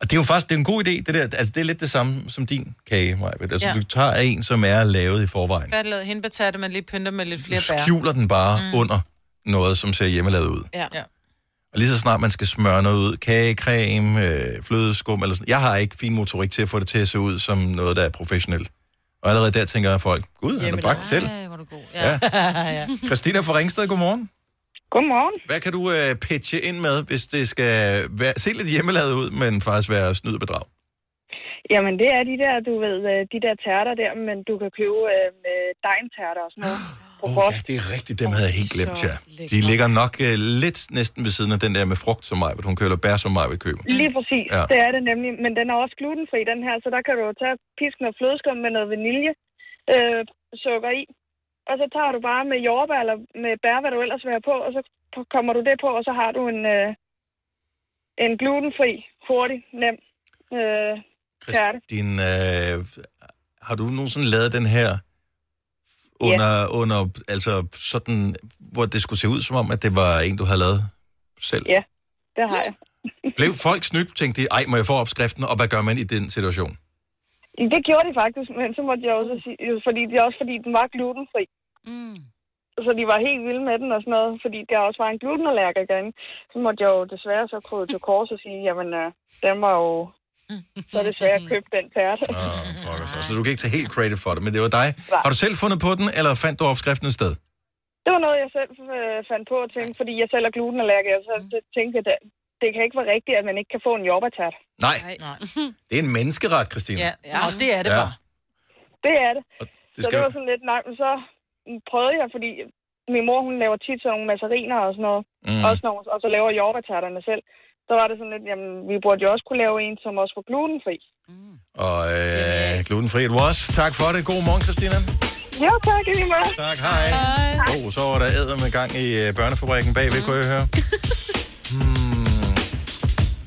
Og det er jo faktisk det er en god idé, det der. Altså, det er lidt det samme som din kage, Maja. Altså, Ja. ja. du tager en, som er lavet i forvejen. Færdiglavet hindbærtærte, man lige pynter med lidt flere bær. Skjuler den bare Mm. mm. under noget, som ser hjemmelavet ud. Ja. ja. Og lige så snart man skal smøre noget ud, kagecreme, øh, flødeskum eller sådan. Jeg har ikke fin motorik til at få det til at se ud som noget, der er professionelt. Og allerede der tænker folk, gud, han er bagt selv. Ja. ja. Christina fra Ringsted, godmorgen. Godmorgen. Hvad kan du øh, pitche ind med, hvis det skal være, se lidt hjemmelavet ud, men faktisk være snyd og bedrag? Jamen, det er de der, du ved, øh, de der tærter der, men du kan købe øh, med dejntærter og sådan noget. På oh, Ja, det er rigtigt. Dem havde jeg helt glemt, ja. De ligger nok øh, lidt næsten ved siden af den der med frugt som mig, hvor hun køler bær som mig vil købe. Lige præcis, ja. Ja. det er det nemlig. Men den er også glutenfri, den her, så der kan du jo tage pisk noget flødeskum med noget vanilje øh, sukker i. Og så tager du bare med jordbær eller med bær, hvad du ellers vil have på, og så p- kommer du det på, og så har du en, øh, en glutenfri, hurtig, nem øh, tærte. Din, øh, har du nogensinde lavet den her under, yeah. under, altså sådan, hvor det skulle se ud som om, at det var en, du havde lavet selv? Ja, det har jeg. Blev folk snydt, tænkte de, ej, må jeg få opskriften, og hvad gør man i den situation? Det gjorde de faktisk, men så måtte jeg også sige, fordi det er også fordi, den var glutenfri. Mm. Så de var helt vilde med den og sådan noget, fordi der også var en glutenallergiker inde. Så måtte jeg jo desværre så krydde til kors og sige, jamen, øh, den var jo så desværre købt den tærte. Ah. Pokker så. Så du kan ikke tage helt credit for det, men det var dig. Har du selv fundet på den, eller fandt du opskriften et sted? Det var noget, jeg selv øh, fandt på at tænke, fordi jeg selv er glutenallergiker, så det- tænkte jeg, det, det kan ikke være rigtigt, at man ikke kan få en jordbærtært. Nej. Det er en menneskeret, Christine. Ja, ja. Og det er det Ja. bare. Det er det. det det så skal det jo- var sådan lidt, nej, men så prøvede jeg, fordi min mor, hun laver tit sådan nogle masseriner og sådan noget, Mm. også nogle, og så laver jordbærtærterne selv. Så var det sådan lidt, jamen, vi burde jo også kunne lave en, som også var glutenfri. Og øh, glutenfri it was. Tak for det. God morgen, Christina. Jo, tak, i lige måde. Tak, hej. Oh, så var der æder med gang i øh, børnefabrikken bagved, kunne jeg høre. Hmm.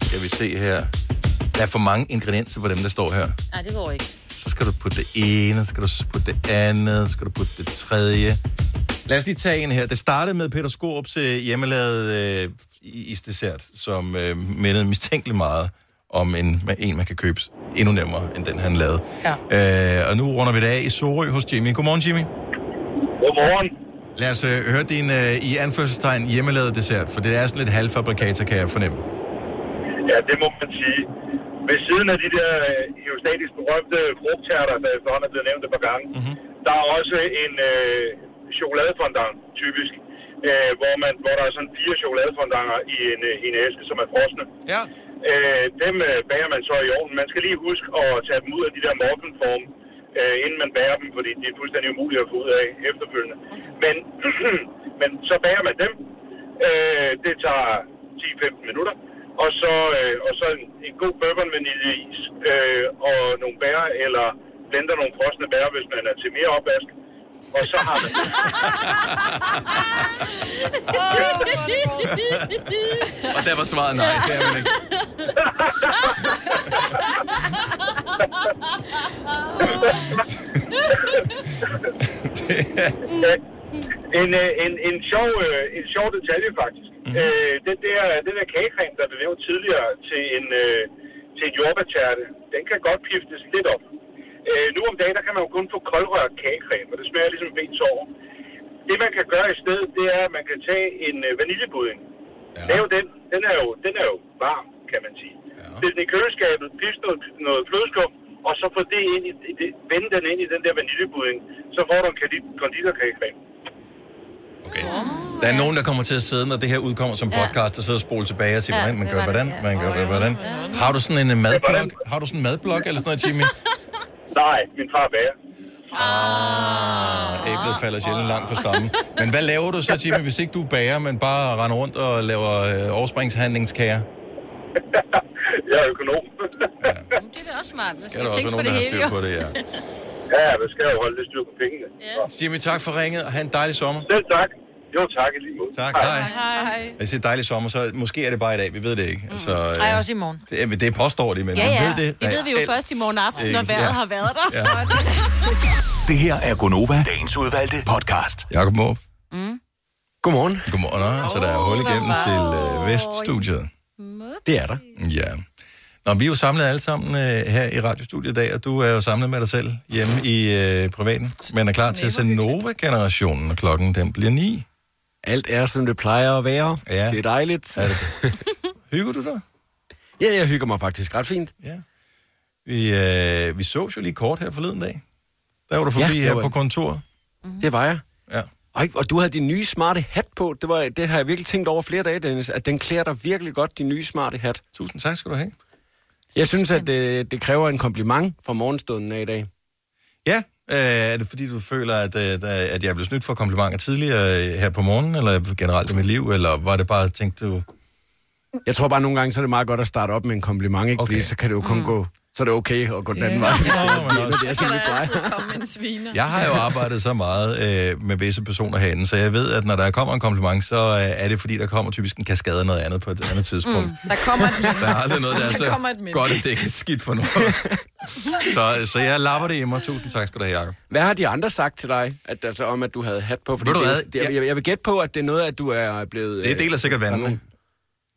Skal vi se her. Der er for mange ingredienser på dem, der står her. Nej, det går ikke. Så skal du putte det ene, så skal du putte det andet, så skal du putte det tredje. Lad os lige tage en her. Det startede med Peter Skorups øh, hjemmelavede øh, isdessert, som øh, mindede mistænkeligt meget om en, en, man kan købe endnu nemmere, end den han lavede. Ja. Øh, og nu runder vi det af i Sorø hos Jimmy. Godmorgen, Jimmy. Godmorgen. Lad os øh, høre din øh, i anførselstegn hjemmelavede dessert, for det er sådan lidt halvfabrikater, kan jeg fornemme. Ja, det må man sige. Ved siden af de der øh, heostatisk berømte frugtærter, der efterhånden er blevet nævnt et par gange, mm-hmm. der er også en øh, chokoladefondant, typisk, øh, hvor, man, hvor der er sådan fire chokoladefondanter i en, øh, i en æske, som er frosne. Ja. Øh, dem øh, bager man så i ovnen. Man skal lige huske at tage dem ud af de der morgenform, øh, inden man bager dem, fordi de er fuldstændig umulige at få ud af efterfølgende. Men, men så bager man dem. Øh, det tager 10-15 minutter. Og så, øh, og så en, en god bourbon vaniljeis øh, og nogle bær, eller blender nogle frosne bær, hvis man er til mere opvask. Og så har man... Og der var svaret nej. Det er man ikke. en, øh, en, en, sjov, øh, en sjov detalje, faktisk. Mm-hmm. Øh, den, der, den der kagecreme, der blev nævnt tidligere til en, øh, til en jordbærtærte, den kan godt piftes lidt op. Øh, nu om dagen, der kan man jo kun få koldrørt kagecreme, og det smager ligesom ben sover. Det, man kan gøre i stedet, det er, at man kan tage en øh, vaniljepudding. Ja. Lave den. Den er, jo, den er jo varm, kan man sige. Ja. Stil den i køleskabet, pifte noget, noget flødeskum, og så få det ind i, i det, vende den ind i den der vaniljepudding. Så får du en kandid- konditorkagecreme. Der er nogen, der kommer til at sidde, når det her udkommer som Ja. podcast, og sidder og spole tilbage og siger, Ja, hvordan man det gør, var det, hvordan ja. man gør, det, hvordan. Har du sådan en øh, madblok? Har du sådan en madblok eller sådan noget, Jimmy? Nej, min far bager. Ah, æblet falder sjældent langt fra stammen. Men hvad laver du så, Jimmy, hvis ikke du bager, men bare render rundt og laver øh, overspringshandlingskager? Jeg er økonom. Det er da også smart. Man Skal der også være nogen, der har styr på det, ja. Ja, man skal jo holde lidt styr på pengene. Jimmy, tak for ringet, og have en dejlig sommer. Selv tak. Jo, tak i lige måde. Tak, hej. Hej. Jeg siger dejlig sommer, så måske er det bare i dag. Vi ved det ikke. Altså, Ej, øh, også i morgen. det, er- det påstår de, men ja, ja. man ved det. det ved vi jo reelt først i morgen aften, når ikke. vejret Ja. har været der. Ja. Det her er Gonova, dagens udvalgte podcast. Jakob Måb. Mm. Godmorgen. Godmorgen. Nå, så der er hul igennem til øh, Veststudiet. Det er der. Ja. Nå, vi er jo samlet alle sammen øh, her i radiostudiet i dag, og du er jo samlet med dig selv hjemme i øh, privaten. Men er klar til at sende Nova-generationen, og klokken den bliver ni. Alt er, som det plejer at være. Ja. Det er dejligt. Er det? hygger du dig? Ja, jeg hygger mig faktisk ret fint. Ja. Vi, øh, vi så jo lige kort her forleden dag. Der var du forbi det her var på jeg. Mm-hmm. kontoret. Det var jeg. Ja. Og, og du havde din nye smarte hat på. Det, var, det har jeg virkelig tænkt over flere dage, Dennis, at den klæder dig virkelig godt, din nye smarte hat. Tusind tak skal du have. Jeg synes, at øh, det kræver en kompliment fra morgenstunden af i dag. Ja, øh, er det fordi, du føler, at, øh, der- at jeg blev snydt for komplimenter tidligere øh, her på morgenen, eller generelt i mit liv, eller var det bare, tænkte du... Jeg tror bare, nogle gange så er det meget godt at starte op med en kompliment, ikke? Okay. fordi så kan det jo kun mm. gå... Så er det okay at gå den anden vej. Ja, men det, også- er sådan, vi plejer. Kom en sviner. Jeg har jo arbejdet så meget øh, med visse personer herinde, så jeg ved, at når der kommer en kompliment, så øh, er det fordi, der kommer typisk en kaskade af noget andet på et andet tidspunkt. Mm. Der kommer et Der er aldrig noget, der er Der kommer et så men. godt, at det ikke er skidt for noget. så, så jeg lapper det i mig. Tusind tak skal du have, Jacob. Hvad har de andre sagt til dig, at, altså, om at du havde hat på? Fordi Ved du det, hvad? Det, jeg, jeg, jeg vil gætte på, at det er noget, at du er blevet... øh, Det deler sikkert vandene. Der er, nogle-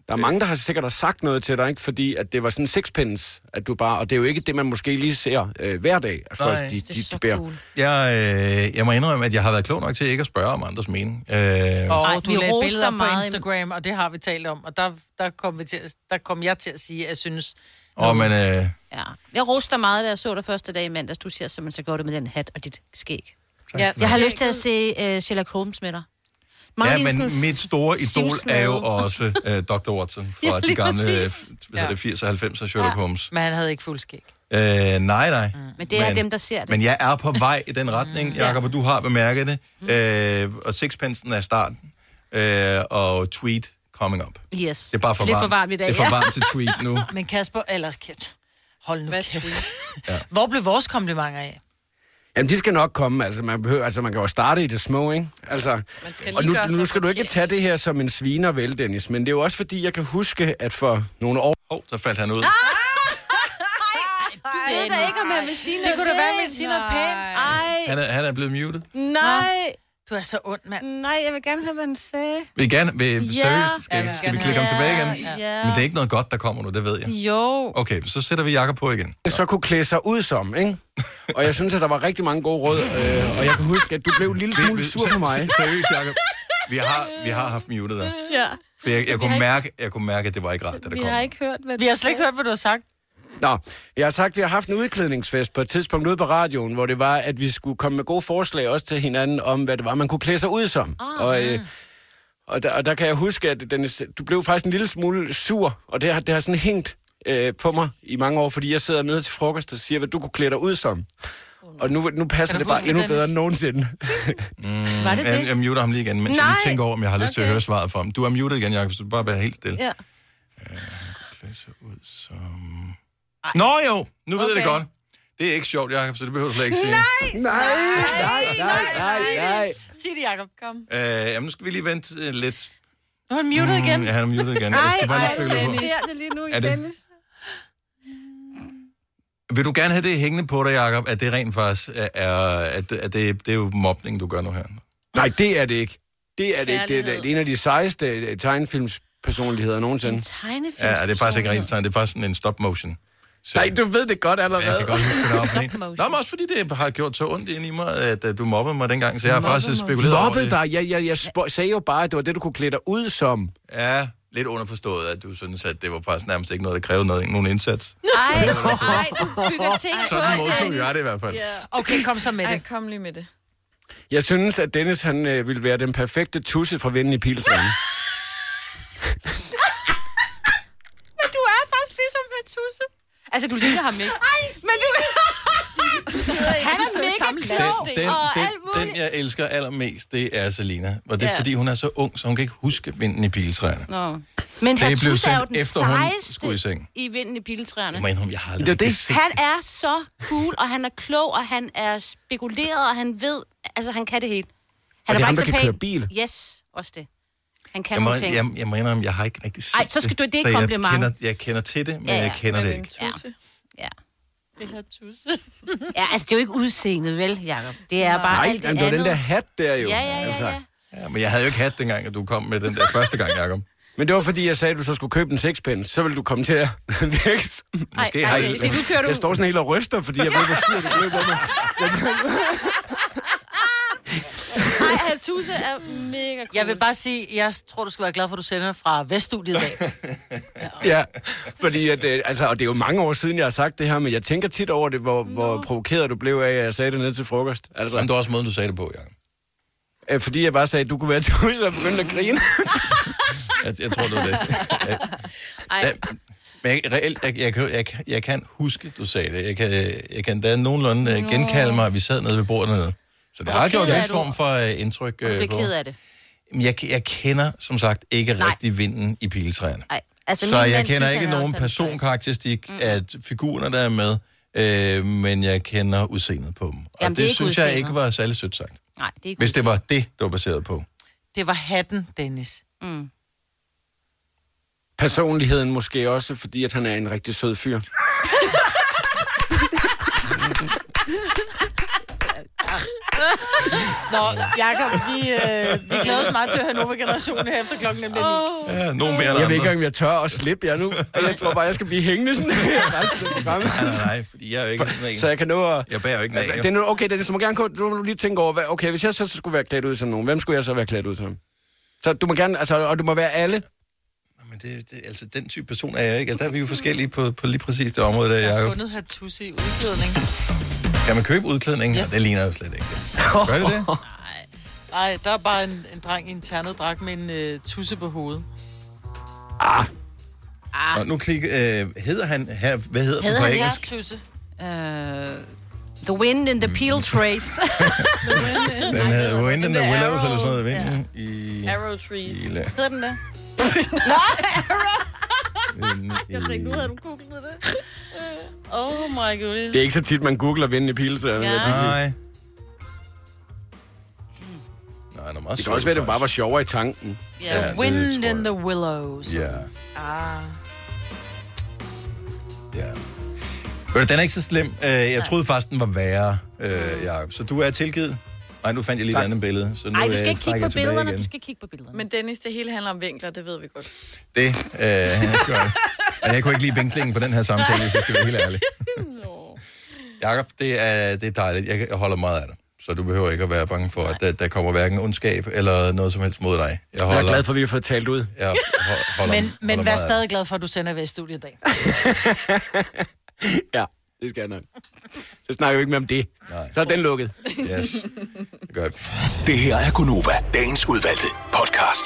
der er mange, der har sikkert har sagt noget til dig, ikke? fordi at det var sådan en sixpence, at du bare... Og det er jo ikke det, man måske lige ser øh, hver dag, at folk Nej. de, Det er de, så de bærer. cool. Jeg, øh, jeg må indrømme, at jeg har været klog nok til ikke at spørge om andres mening. Øh, Og Ej, du lagde billeder på Instagram, og det har vi talt om. Og der, der, kom, vi til, at- der kom jeg til at sige, at jeg synes... og men, øh, Ja. Jeg roste dig meget, da jeg så dig første dag i mandags. Du ser simpelthen så godt ud med den hat og dit skæg. Tak. Ja, jeg har lyst til at se uh, Sherlock Holmes med dig. Mange ja, lige men sådan mit store idol simsnade. er jo også øh, Dr. Watson fra Ja, de lige gamle øh, præcis. hvad hedder det, 80'er og 90'er Sherlock Holmes. Men han havde ikke fuld skæg. Øh, nej, nej. Mm. Men det er dem, der ser det. Men jeg er på vej i den retning, Jacob, og du har bemærket det. Øh, og sixpensen er starten. Øh, og tweet coming up. Yes. Det er bare for Lidt varmt. for varmt i dag, Det er for ja. varmt til tweet nu. Men Kasper, eller kæft. Hold nu Hvad kæft. Ja. Hvor blev vores komplimenter af? Jamen, de skal nok komme. Altså, man, behøver, altså, man kan jo starte i det små, ikke? Altså, Man skal og lige nu, gøre sig nu skal du ikke tage det her som en sviner, vel, Dennis? Men det er jo også, fordi jeg kan huske, at for nogle år... Åh, oh, der faldt han Ah! ud. Du ved da ikke, om jeg vil sige Det noget kunne da være, pænt. man vil sige noget pænt. Han er, han er blevet muted. Ej, nej. Du er så ond, mand. Nej, jeg vil gerne høre, hvad han sagde. Vil I gerne? Vil, Ja. seriøst? Ja, vi Skal, vil skal vi gerne klikke ham have- tilbage igen? Ja, ja. Men det er ikke noget godt, der kommer nu, det ved jeg. Jo. Okay, så sætter vi Jacob på igen. så kunne klæde sig ud som, ikke? Og jeg synes, at der var rigtig mange gode råd, øh, og jeg kan huske, at du blev en lille Vi- smule vi- sur se- på mig. se- Seriøst, Jacob. Vi har, vi har haft muted der. Ja. For jeg, jeg, har kunne ikke- mærke, jeg kunne mærke, at det var ikke rart, da det kom. ikke hørt, hvad Vi har slet ikke hørt, hvad du har sagt. Nå, jeg har sagt, at vi har haft en udklædningsfest på et tidspunkt ude på radioen, hvor det var, at vi skulle komme med gode forslag også til hinanden om, hvad det var, man kunne klæde sig ud som. Ah, og, øh, og, der, og der kan jeg huske, at Dennis, du blev faktisk en lille smule sur, og det har, det har sådan hængt øh, på mig i mange år, fordi jeg sidder nede til frokost og siger, hvad du kunne klæde dig ud som. Og nu, nu passer Kan du det bare huske det, endnu Dennis? bedre end nogensinde. Mm, Var det jeg, det? jeg muter ham lige igen, mens Nej. jeg Nej. lige tænker over, om jeg har lyst okay. til at Okay. høre svaret fra ham. Du er muted igen, Jacob, så du bare vær helt stille. Ja. Læse ud som... Nå jo, nu okay. ved jeg det godt. Det er ikke sjovt, Jacob, så det behøver du slet ikke sige. Nej, nej, nej, nej, nej. Sig det, Jacob. Kom. Øh, jamen, nu skal vi lige vente øh, lidt. Nu er han muted igen. Mm, ja, han er muted igen. Jeg skal bare lige spille på. det lige nu Er det- Vil du gerne have det hængende på dig, Jacob, at det rent faktisk øh, er... At, det- at det, det er jo mobning, du gør nu her. Nej, det er det ikke. Det er det ikke. Det er, det er en af de sejeste øh, tegnefilmspersonligheder nogensinde. Tegnefilm. Ja, det er faktisk ikke rent tegn. Det er faktisk sådan en stop-motion. Så, Nej, du ved det godt allerede. Jeg kan godt huske det op. Nå, men også fordi det har gjort så ondt ind i mig, at øh, du mobbede mig dengang, så jeg har faktisk spekuleret over Loppet det. dig. Jeg, jeg, jeg spo- sagde jo bare, at det var det, du kunne klæde dig ud som. Ja, lidt underforstået, at du synes, at det var faktisk nærmest ikke noget, der krævede noget, nogen indsats. Nej, nej, du bygger ting på. altså- Sådan modtog jeg det i hvert fald. Okay, kom så med det. Ej, kom lige med det. Jeg synes, at Dennis han, øh, ville være den perfekte tusse fra Vinden i Pilsvangen. Men du er faktisk ligesom en tusse. Altså, du ligner ham ikke. Ej, men du... Han er mega klog Den, den, og alt den, muligt. den, jeg elsker allermest, det er Selina. Og det er, Ja. fordi hun er så ung, så hun kan ikke huske vinden i piltræerne. Nå. Men Det han blev tusse er jo sendt den efter, hun sejeste skulle i seng. i vinden i piletræerne. Jeg må indrømme, jeg har aldrig det, det. Han er så cool, og han er klog, og han er spekuleret, og han ved, altså han kan det helt. er det bare ham, ikke der så kan køre pæn. bil? Yes, også det. Han kan Jeg må, nogle ting. jeg, jeg må indrømme, jeg har ikke rigtig set Ej, så skal du- det er et så jeg kompliment. Kender, jeg kender til det, men ja, ja. jeg kender det ikke. Ja. ja. Eller tusse. ja, altså det er jo ikke udseendet, vel, Jacob? Det er bare Nej, alt det men andet. det var den der hat der jo, Ja, ja, ja. altså. ja. Ja, men jeg havde jo ikke hat dengang, at du kom med den der første gang, Jacob. Men det var fordi, jeg sagde, at du så skulle købe en sexpens, så ville du komme til at virke. som- Ej, ej, har se, nu kører du- Jeg står sådan helt og ryster, fordi jeg ved, hvor sur du løber med. Nej, Haltuse er mega cool. Jeg vil bare sige, jeg tror, du skal være glad for, at du sender fra Veststudiet i dag. Ja, fordi at, øh, altså, og det er jo mange år siden, jeg har sagt det her, men jeg tænker tit over det, hvor, hvor provokeret du blev af, at jeg sagde det ned til frokost. Altså, Jamen, det var også måden, du sagde det på, ja. Fordi jeg bare sagde, at du kunne være tusse og begyndte at grine. Jeg, jeg tror, det var det. Ja, men jeg, reelt, jeg, jeg, kan- jeg, kan- jeg kan huske, du sagde det. Jeg kan, øh, jeg kan da nogenlunde øh, genkalde mig, at vi sad nede ved bordet nede. Så det Og hvor har gjort ked en er vis du? form for uh, indtryk Du uh, bliver på. ked af det. Men Jeg, jeg kender, som sagt, ikke Nej. rigtig vinden i piletræerne. Ej, Altså, så jeg kender synes, ikke han er nogen også- personkarakteristik mm. af figurerne, der er med, øh, men jeg kender udseendet på dem. Og Jamen, Jamen, det er det, ikke det synes jeg udseendet. ikke var særlig sødt sagt. Nej, det er ikke Hvis det var det, det var baseret på. Det var hatten, Dennis. Mm. Personligheden måske også, fordi at han er en rigtig sød fyr. Nå, Jacob, vi, øh, vi glæder os meget til at høre Nova-generationen her efter klokken nemlig oh. Ja, nogen mere jeg end ved andre. ikke engang, om jeg tør at slippe jer nu. Jeg tror bare, jeg skal blive hængende sådan her. Nej, nej, nej, fordi jeg er jo ikke sådan en. Så jeg kan nå at... Jeg bærer jo ikke Ja, nager. det er nu, okay, Dennis, du må gerne gå- du må lige tænke over, hvad, okay, hvis jeg så skulle være klædt ud som nogen, hvem skulle jeg så være klædt ud som? Så du må gerne, altså, og du må være alle. Men det, det, altså, den type person er jeg ikke. Altså, der er vi jo forskellige på, på lige præcis det område, der Jeg jeg har jo. fundet Hattusse i udklædning. Kan man købe udklædning? Yes. Yes. Det ligner jo slet ikke. det. Gør det det? Nej, der er bare en, en dreng i en ternet dragt med en øh, tusse på hovedet. Ah. ah. Og nu klik, øh, hedder han her, hvad hedder, hedder Havde den på han engelsk? Tusse. Uh, the wind in the peel trace. Mm. Den hedder Wind in the the Willows, Arrow. eller sådan noget. Vinden i... Arrow trees. Lille. Hedder den det? Nej, Arrow. Vinden i... Jeg tænkte, nu havde du googlet det. Øh, Oh my god. Det er ikke så tit, man googler vinden i pilserne. Ja. Nej. Nej, det, det kan også være, det bare var sjovere i tanken. Yeah. Ja, Ja, det Wind in the Willows. Ja. Ah. Ved du, Den er ikke så slem. Øh, Jeg troede faktisk, den var værre, øh, Jacob. Så du er tilgivet. Nej, nu fandt jeg lige et andet billede. Så nu, Ej, du øh, skal ikke trækker kigge jeg på tilbage billederne, igen. du skal kigge på billederne. Men Dennis, det hele handler om vinkler, det ved vi godt. Det øh, gør jeg. Og jeg kunne ikke lide vinklingen på den her samtale, hvis jeg skal være helt ærlig. Jakob, det er, det er dejligt. Jeg jeg holder meget af dig. Så du behøver ikke at være bange for, at der, der kommer hverken ondskab eller noget som helst mod dig. Jeg, holder, Jeg er glad for, at vi har fået talt ud. Jeg ho- holder, Men, holder men meget vær af dig. stadig glad for, at du sender ved studiet i dag. Ja, det skal jeg nok. Så snakker vi ikke mere om det. Nej. Så er den lukket. Yes. Godt. Det her er Gunova, dagens udvalgte podcast.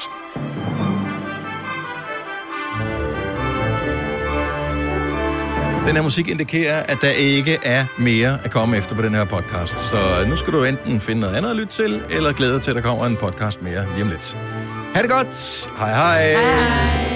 Den her musik indikerer, at der ikke er mere at komme efter på den her podcast. Så øh, nu skal du enten finde noget andet at lytte til, eller glæde dig til, at der kommer en podcast mere lige om lidt. Ha' det godt. Hej hej. hej.